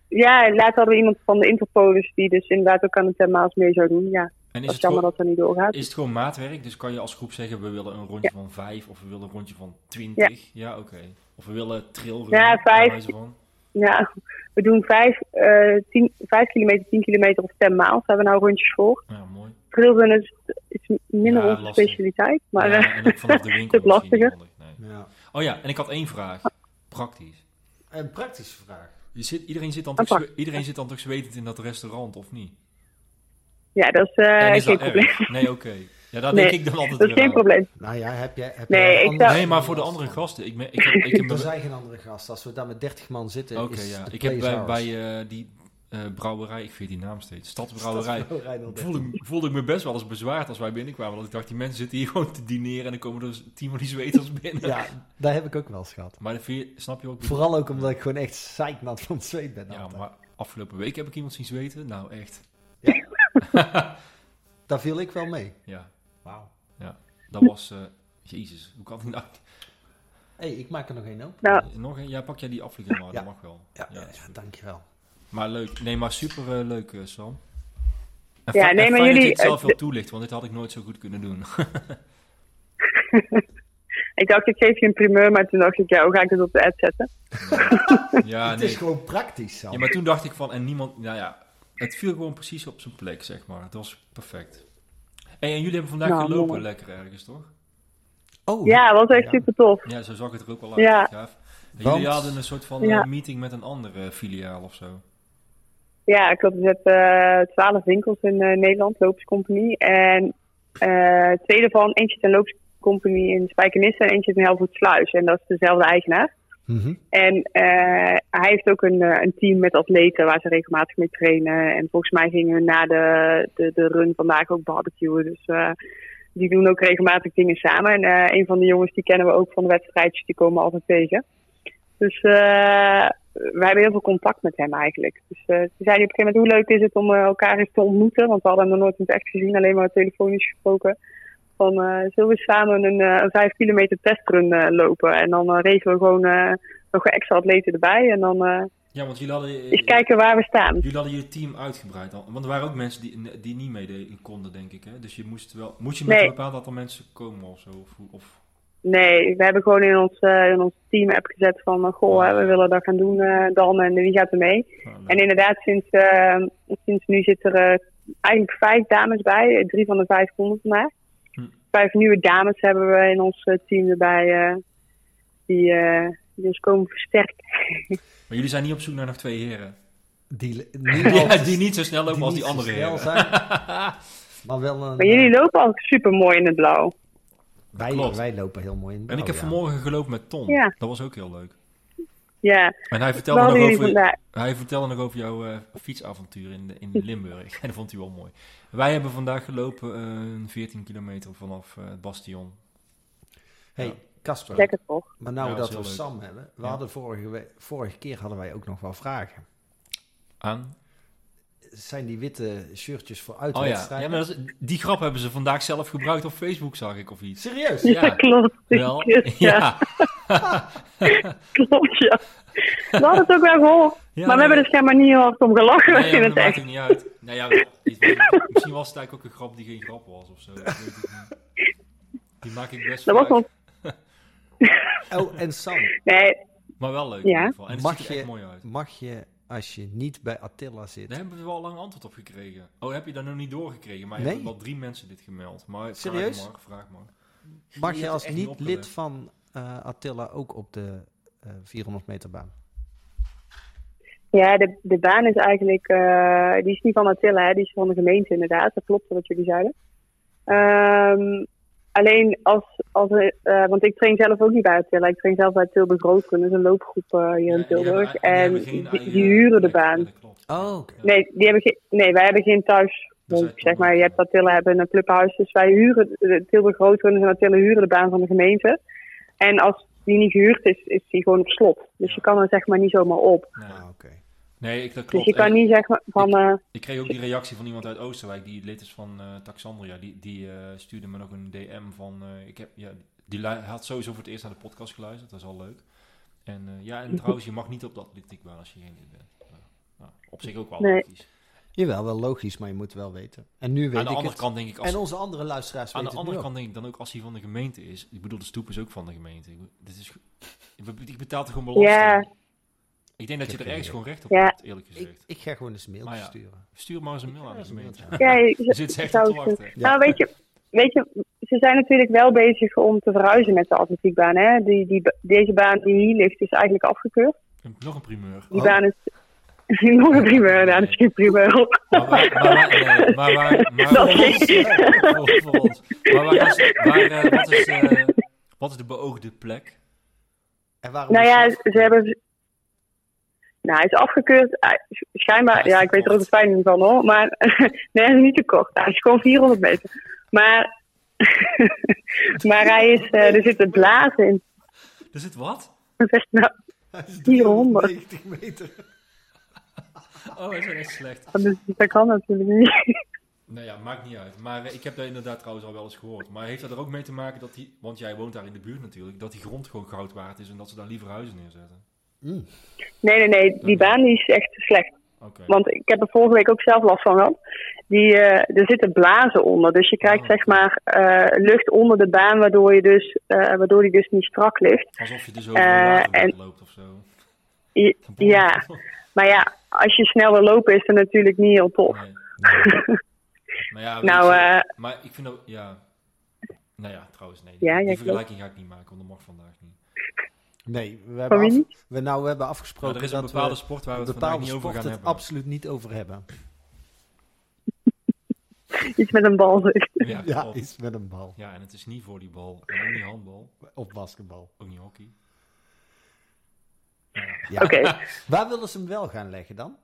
Speaker 4: Ja, laatst hadden we iemand van de Interpolis die dus inderdaad ook aan het thema's mee zou doen. Ja,
Speaker 3: en is
Speaker 4: dat is
Speaker 3: het,
Speaker 4: jammer
Speaker 3: gewoon,
Speaker 4: dat dat niet doorgaat.
Speaker 3: is het gewoon maatwerk? Dus kan je als groep zeggen, we willen een rondje van vijf of we willen een rondje van twintig? Ja, oké. Of we willen trailrun.
Speaker 4: Ja,
Speaker 3: bij
Speaker 4: vijf.
Speaker 3: wijze van.
Speaker 4: Ja, we doen 5 eh 10 vijf kilometer, 10 kilometer of 10 maal. Daar hebben we nou rondjes voor.
Speaker 3: Ja, mooi.
Speaker 4: Trailrun is, is minder
Speaker 3: Ja,
Speaker 4: onze
Speaker 3: lastig.
Speaker 4: specialiteit. Maar eh,
Speaker 3: ja, en ook vanaf de winkel
Speaker 4: stuk lastiger.
Speaker 3: misschien niet handig, nee.
Speaker 2: Ja.
Speaker 3: Oh ja, en ik had één vraag. Praktisch.
Speaker 2: Een praktische vraag.
Speaker 3: Je zit, iedereen, zit dan
Speaker 4: Een
Speaker 3: toch,
Speaker 4: vraag.
Speaker 3: zwe- iedereen zit dan toch zwetend in dat restaurant, of niet?
Speaker 4: ja, dat is, eh,
Speaker 3: en is
Speaker 4: geen
Speaker 3: dat
Speaker 4: probleem.
Speaker 3: erg? Nee, oké. Ja, daar
Speaker 4: Nee,
Speaker 3: denk ik dan altijd
Speaker 4: Dat is
Speaker 3: weer
Speaker 4: geen
Speaker 3: aan.
Speaker 4: probleem.
Speaker 2: Nou ja, heb jij... Heb
Speaker 4: Nee,
Speaker 2: jij
Speaker 4: ik
Speaker 2: anders-
Speaker 4: zou-
Speaker 3: Nee, maar voor de andere gasten. Ik, me- ik heb, ik heb
Speaker 2: Er
Speaker 3: Oké,
Speaker 2: zijn geen andere gasten. Als we daar met 30 man zitten, is
Speaker 3: ja.
Speaker 2: de
Speaker 3: Ik heb
Speaker 2: place
Speaker 3: bij,
Speaker 2: ours.
Speaker 3: bij eh, die eh, brouwerij, ik vind die naam steeds, Stadsbrouwerij,
Speaker 2: Stadsbrouwerij 013.
Speaker 3: voelde, ik- voelde ik me best wel eens bezwaard als wij binnenkwamen. Want ik dacht, die mensen zitten hier gewoon te dineren en dan komen er tien van die zweters binnen.
Speaker 2: Ja, daar heb ik ook wel eens gehad.
Speaker 3: Maar dat vind je, snap je ook?
Speaker 2: Vooral ook omdat ik gewoon echt zeiknat van het zweet ben.
Speaker 3: Ja,
Speaker 2: altijd.
Speaker 3: maar afgelopen week heb ik iemand zien zweten. Nou, echt.
Speaker 2: Daar viel ik wel mee.
Speaker 3: Ja,
Speaker 2: Wauw.
Speaker 3: dat was... eh, jezus, hoe kan die nou...
Speaker 2: hey, ik maak er nog één open.
Speaker 4: Nou,
Speaker 3: Nog een? Ja, pak jij die afvlieger maar,
Speaker 2: Ja.
Speaker 3: dat mag wel.
Speaker 2: Ja, ja,
Speaker 3: is goed.
Speaker 2: dankjewel.
Speaker 3: Maar leuk. Nee, maar super eh, leuk, eh, Sam. En
Speaker 4: Ja,
Speaker 3: fi- en
Speaker 4: nee, maar
Speaker 3: fijn dat
Speaker 4: jullie-
Speaker 3: je het zelf
Speaker 4: eh,
Speaker 3: wil toelichten, want dit had ik nooit zo goed kunnen doen.
Speaker 4: ik dacht, ik geef je een primeur, maar toen dacht ik, ja, hoe ga ik het op de ad zetten?
Speaker 3: ja,
Speaker 2: Het is
Speaker 3: Ah, nee.
Speaker 2: gewoon praktisch, Sam.
Speaker 3: Ja, maar toen dacht ik van, en niemand... Nou ja, het viel gewoon precies op zijn plek, zeg maar. Het was perfect. Hey, en jullie hebben vandaag
Speaker 4: Nou,
Speaker 3: gelopen
Speaker 4: mooi.
Speaker 3: lekker ergens, toch?
Speaker 2: Oh,
Speaker 4: Ja, was echt
Speaker 2: Ja.
Speaker 4: super tof.
Speaker 3: Ja, zo zag het er ook wel uit.
Speaker 4: Ja.
Speaker 3: gaaf. En
Speaker 2: Want-
Speaker 3: Jullie hadden een soort van eh,
Speaker 4: Ja.
Speaker 3: meeting met een andere eh, filiaal of zo.
Speaker 4: Ja, klopt. Er zitten eh, twaalf winkels in eh, Nederland, Loopscompagnie. En eh twee daarvan, eentje is een Loopscompagnie in Spijkenisse en eentje is in Helvoetsluis. En dat is dezelfde eigenaar.
Speaker 2: Mhm.
Speaker 4: En eh, hij heeft ook een, eh, een team met atleten waar ze regelmatig mee trainen. En volgens mij gingen we na de, de, de run vandaag ook barbecuen. Dus eh, die doen ook regelmatig dingen samen. En eh, een van de jongens die kennen we ook van de wedstrijdjes, die komen we altijd tegen. Dus eh wij hebben heel veel contact met hem eigenlijk. Dus eh ze zeiden op een gegeven moment hoe leuk is het om eh, elkaar eens te ontmoeten. Want we hadden hem nog nooit in het echt gezien, alleen maar telefonisch gesproken. Van eh, zullen we samen een, eh, een vijf kilometer testrun eh, lopen. En dan eh, regelen we gewoon... eh, nog een extra atleten erbij. En dan eh,
Speaker 3: Ja, want jullie hadden...
Speaker 4: eens kijken waar we staan.
Speaker 3: Jullie hadden je team uitgebreid al. Want er waren ook mensen die, die niet meededen konden, denk ik. Hè? Dus je moest wel. Moet je met
Speaker 4: Nee.
Speaker 3: een bepaald aantal mensen komen of zo? Of, hoe- of,
Speaker 4: Nee, we hebben gewoon in ons, eh, in ons team-app gezet van... eh, goh, hè, we willen dat gaan doen eh, dan en wie gaat er mee?
Speaker 3: nou,
Speaker 4: En inderdaad, sinds, eh, sinds nu zitten er eh, eigenlijk vijf dames bij. Eh, Drie van de vijf konden vandaag.
Speaker 3: Hm.
Speaker 4: Vijf nieuwe dames hebben we in ons eh, team erbij. eh, die, eh, die ons komen versterken.
Speaker 3: Maar jullie zijn niet op zoek naar nog twee heren.
Speaker 2: Die, niet
Speaker 3: Ja,
Speaker 2: altijd-
Speaker 3: die niet zo snel lopen als
Speaker 2: niet
Speaker 3: die
Speaker 2: zo
Speaker 3: andere
Speaker 2: snel
Speaker 3: heren.
Speaker 2: zijn, maar wel een... eh,
Speaker 4: Maar jullie lopen al super mooi in het blauw.
Speaker 2: wij,
Speaker 3: Klopt.
Speaker 2: wij lopen heel mooi in.
Speaker 3: En ik heb
Speaker 2: Oh, ja.
Speaker 3: vanmorgen gelopen met Ton.
Speaker 4: Ja.
Speaker 3: Dat was ook heel leuk.
Speaker 4: Ja,
Speaker 3: En hij vertelde
Speaker 4: wat hadden
Speaker 3: nog
Speaker 4: jullie
Speaker 3: over,
Speaker 4: vandaag?
Speaker 3: hij vertelde nog over jouw eh, fietsavontuur in, in Limburg. En dat vond hij wel mooi. Wij hebben vandaag gelopen eh, 14 kilometer vanaf eh, het Bastion.
Speaker 2: Hey, Casper,
Speaker 4: Lekker toch?
Speaker 2: maar nou
Speaker 3: Ja, dat
Speaker 2: dat
Speaker 3: is
Speaker 2: we
Speaker 3: heel leuk.
Speaker 2: Sam hebben. We
Speaker 3: Ja.
Speaker 2: hadden vorige, we- vorige keer hadden wij ook nog wel vragen.
Speaker 3: Aan?
Speaker 2: Zijn die witte shirtjes voor
Speaker 3: Oh ja. ja
Speaker 2: uitwedstrijden?
Speaker 3: maar dat is- die grap hebben ze vandaag zelf gebruikt op Facebook, zag ik of iets.
Speaker 2: Serieus?
Speaker 4: Ja,
Speaker 3: Ja.
Speaker 4: klopt.
Speaker 3: Wel,
Speaker 4: Ja,
Speaker 3: ja.
Speaker 4: klopt, ja. We hadden het ook wel gehoord.
Speaker 3: Ja,
Speaker 4: maar we
Speaker 3: nee.
Speaker 4: hebben er schijnbaar niet heel hard om gelachen
Speaker 3: Nee,
Speaker 4: in
Speaker 3: ja,
Speaker 4: het
Speaker 3: dat maakt
Speaker 4: echt.
Speaker 3: ook niet uit. Nou ja, iets- misschien was het eigenlijk ook een grap die geen grap was of zo. Dat weet ik niet. Die maak ik best
Speaker 4: Dat
Speaker 3: wel.
Speaker 4: was ons.
Speaker 2: Oh, en Sam,
Speaker 4: Nee,
Speaker 3: Maar wel leuk
Speaker 4: Ja.
Speaker 3: in ieder geval. En het
Speaker 2: Mag
Speaker 3: ziet er echt
Speaker 2: je-
Speaker 3: mooi uit.
Speaker 2: mag je als je niet bij Attila zit...
Speaker 3: Daar hebben we wel lang antwoord op gekregen. Oh, heb je daar nog niet doorgekregen? Maar je
Speaker 2: Nee.
Speaker 3: hebt wel drie mensen dit gemeld. Maar
Speaker 2: Serieus?
Speaker 3: vraag maar, vraag maar.
Speaker 2: Mag
Speaker 3: Die
Speaker 2: je
Speaker 3: is
Speaker 2: als
Speaker 3: echt niet
Speaker 2: niet lid
Speaker 3: opgelegd.
Speaker 2: van eh, Attila ook op de eh 400 meter baan?
Speaker 4: ja, de, de baan is eigenlijk... eh, die is niet van Attila, hè, die is van de gemeente inderdaad. Dat klopt wat jullie zeiden. Ehm, alleen als... als er, eh, want ik train zelf ook niet bij Attila. Ik train zelf bij Tilburg Roodgroen. Dat is een loopgroep eh, hier in
Speaker 3: Ja, die hebben-
Speaker 4: Tilburg.
Speaker 3: die
Speaker 4: en
Speaker 3: hebben geen
Speaker 4: die,
Speaker 3: eigen-
Speaker 4: die huren de
Speaker 3: Nee,
Speaker 4: baan.
Speaker 3: ja, dat klopt.
Speaker 2: Oh, oké.
Speaker 3: Ja.
Speaker 4: Nee, die hebben geen, nee, wij hebben geen thuis.
Speaker 3: Dat is
Speaker 4: zeg maar, je
Speaker 3: uitzondering.
Speaker 4: hebt Attila hebben een clubhuis, dus wij huren, de Tilburg Roodrunners en Attila huren de baan van de gemeente. En als die niet gehuurd is, is die gewoon op slot. Dus
Speaker 3: Ja.
Speaker 4: je kan er zeg maar niet zomaar op.
Speaker 3: Nee,
Speaker 2: Ah, oké.
Speaker 3: nee ik, dat klopt.
Speaker 4: Dus je kan
Speaker 3: En
Speaker 4: niet zeg maar van, eh,
Speaker 3: Ik kreeg ook die reactie van iemand uit Oostenrijk die lid is van eh, Taxandria. Die, die eh, stuurde me nog een DM van. eh, ik heb, ja, die lu- had sowieso voor het eerst naar de podcast geluisterd, dat is al leuk. En eh, ja, en trouwens, je mag niet op de atletiekbaan als je geen lid bent. Nou, nou, op zich ook wel
Speaker 4: Nee.
Speaker 3: logisch.
Speaker 2: Jawel, wel logisch, maar je moet wel weten. En nu weet
Speaker 3: Aan de
Speaker 2: ik
Speaker 3: andere
Speaker 2: het.
Speaker 3: kant denk ik als.
Speaker 2: En onze andere luisteraars
Speaker 3: Aan
Speaker 2: weten
Speaker 3: de
Speaker 2: het nu
Speaker 3: andere
Speaker 2: ook.
Speaker 3: kant denk ik dan ook als hij van de gemeente is. Ik bedoel, de stoep is ook van de gemeente. Ik bedoel, Dit is, ge- ik be- ik betaal er gewoon belasting.
Speaker 4: Ja.
Speaker 3: Ik
Speaker 2: Ik
Speaker 3: denk dat je
Speaker 2: heb
Speaker 3: er
Speaker 2: geen
Speaker 3: ergens
Speaker 2: idee.
Speaker 3: gewoon recht op
Speaker 4: Ja.
Speaker 3: hebt, eerlijk
Speaker 2: Ik,
Speaker 3: gezegd.
Speaker 2: ik ga gewoon eens een mailtje
Speaker 3: Ah, ja.
Speaker 2: sturen.
Speaker 3: Stuur maar eens een mail
Speaker 2: Ja,
Speaker 3: aan de
Speaker 2: dat is een
Speaker 3: gemeente.
Speaker 2: mailtje.
Speaker 4: ja, je-
Speaker 3: Er zit ze echt op
Speaker 4: zou
Speaker 3: te
Speaker 4: ik
Speaker 3: wachten.
Speaker 2: Ja.
Speaker 4: Nou, weet je, weet je, ze zijn natuurlijk wel bezig om te verhuizen met de atletiekbaan. Hè? Die, die, deze baan die hier ligt is eigenlijk afgekeurd.
Speaker 3: Een- Nog een primeur.
Speaker 4: Die
Speaker 2: Oh.
Speaker 4: baan is nog een primeur, daar nou, is geen primeur op.
Speaker 3: Maar waar, maar waar- nee, maar waar, maar
Speaker 4: Dat
Speaker 3: voor ons, voor, voor ons. Maar waar is, waar, eh, wat, is, eh, wat is de beoogde plek?
Speaker 2: En waarom
Speaker 4: Nou
Speaker 2: is
Speaker 4: ja,
Speaker 2: dat?
Speaker 4: ze hebben. Nou, hij is afgekeurd. Hij-
Speaker 3: Hij
Speaker 4: Schijnbaar,
Speaker 3: is
Speaker 4: ja,
Speaker 3: te
Speaker 4: ik weet er ook
Speaker 3: kort.
Speaker 4: het fijn niet van hoor. Maar nee, hij is niet te kort. Hij is gewoon 400 meter. Maar, maar hij is, eh, er zitten blazen in.
Speaker 3: Er zit wat?
Speaker 4: Nou,
Speaker 2: Hij is
Speaker 4: 400.
Speaker 2: 390 meter.
Speaker 3: Oh, dat is echt slecht.
Speaker 4: dat is- dat kan natuurlijk niet.
Speaker 3: Nou ja, maakt niet uit. Maar eh, ik heb dat inderdaad trouwens al wel eens gehoord. Maar heeft dat er ook mee te maken dat die... Want jij woont daar in de buurt natuurlijk. Dat die grond gewoon goud waard is en dat ze daar liever huizen neerzetten.
Speaker 2: Mm.
Speaker 4: Nee, nee, nee. Die baan die is echt slecht.
Speaker 3: Oké.
Speaker 4: Want ik heb er vorige week ook zelf last van gehad. Die, eh, er zitten blazen onder. Dus je krijgt
Speaker 3: Oh.
Speaker 4: zeg maar eh, lucht onder de baan, waardoor, je dus, eh, waardoor die dus niet strak ligt.
Speaker 3: Alsof je dus over
Speaker 4: Eh,
Speaker 3: een water
Speaker 4: en-
Speaker 3: loopt of zo.
Speaker 4: Je- ja, maar ja, als je snel wil lopen is dat natuurlijk niet heel tof.
Speaker 3: Nee, nee. maar ja, weet
Speaker 4: Nou,
Speaker 3: je,
Speaker 4: eh,
Speaker 3: maar ik vind ook... Ja. Nou ja, trouwens, nee.
Speaker 4: Ja, jij
Speaker 3: die vergelijking ga ik niet maken, want dat mag vandaag niet.
Speaker 2: Nee, we hebben,
Speaker 4: Van wie
Speaker 2: af-
Speaker 4: niet?
Speaker 2: we, nou, we hebben
Speaker 3: Maar
Speaker 2: afgesproken
Speaker 3: er is een
Speaker 2: dat
Speaker 3: bepaalde
Speaker 2: we
Speaker 3: sport waar we
Speaker 2: een
Speaker 3: het vandaag
Speaker 2: bepaalde
Speaker 3: niet over
Speaker 2: sport
Speaker 3: gaan
Speaker 2: het
Speaker 3: hebben.
Speaker 2: absoluut niet over hebben.
Speaker 4: eh, Iets met een bal. dus.
Speaker 3: Ja,
Speaker 2: Ja,
Speaker 3: klopt.
Speaker 2: iets met een bal.
Speaker 3: Ja, en het is niet volleybal, en ook niet handbal,
Speaker 2: Op basketbal.
Speaker 3: ook niet hockey.
Speaker 2: Ja.
Speaker 4: Oké.
Speaker 2: Waar willen ze hem wel gaan leggen dan?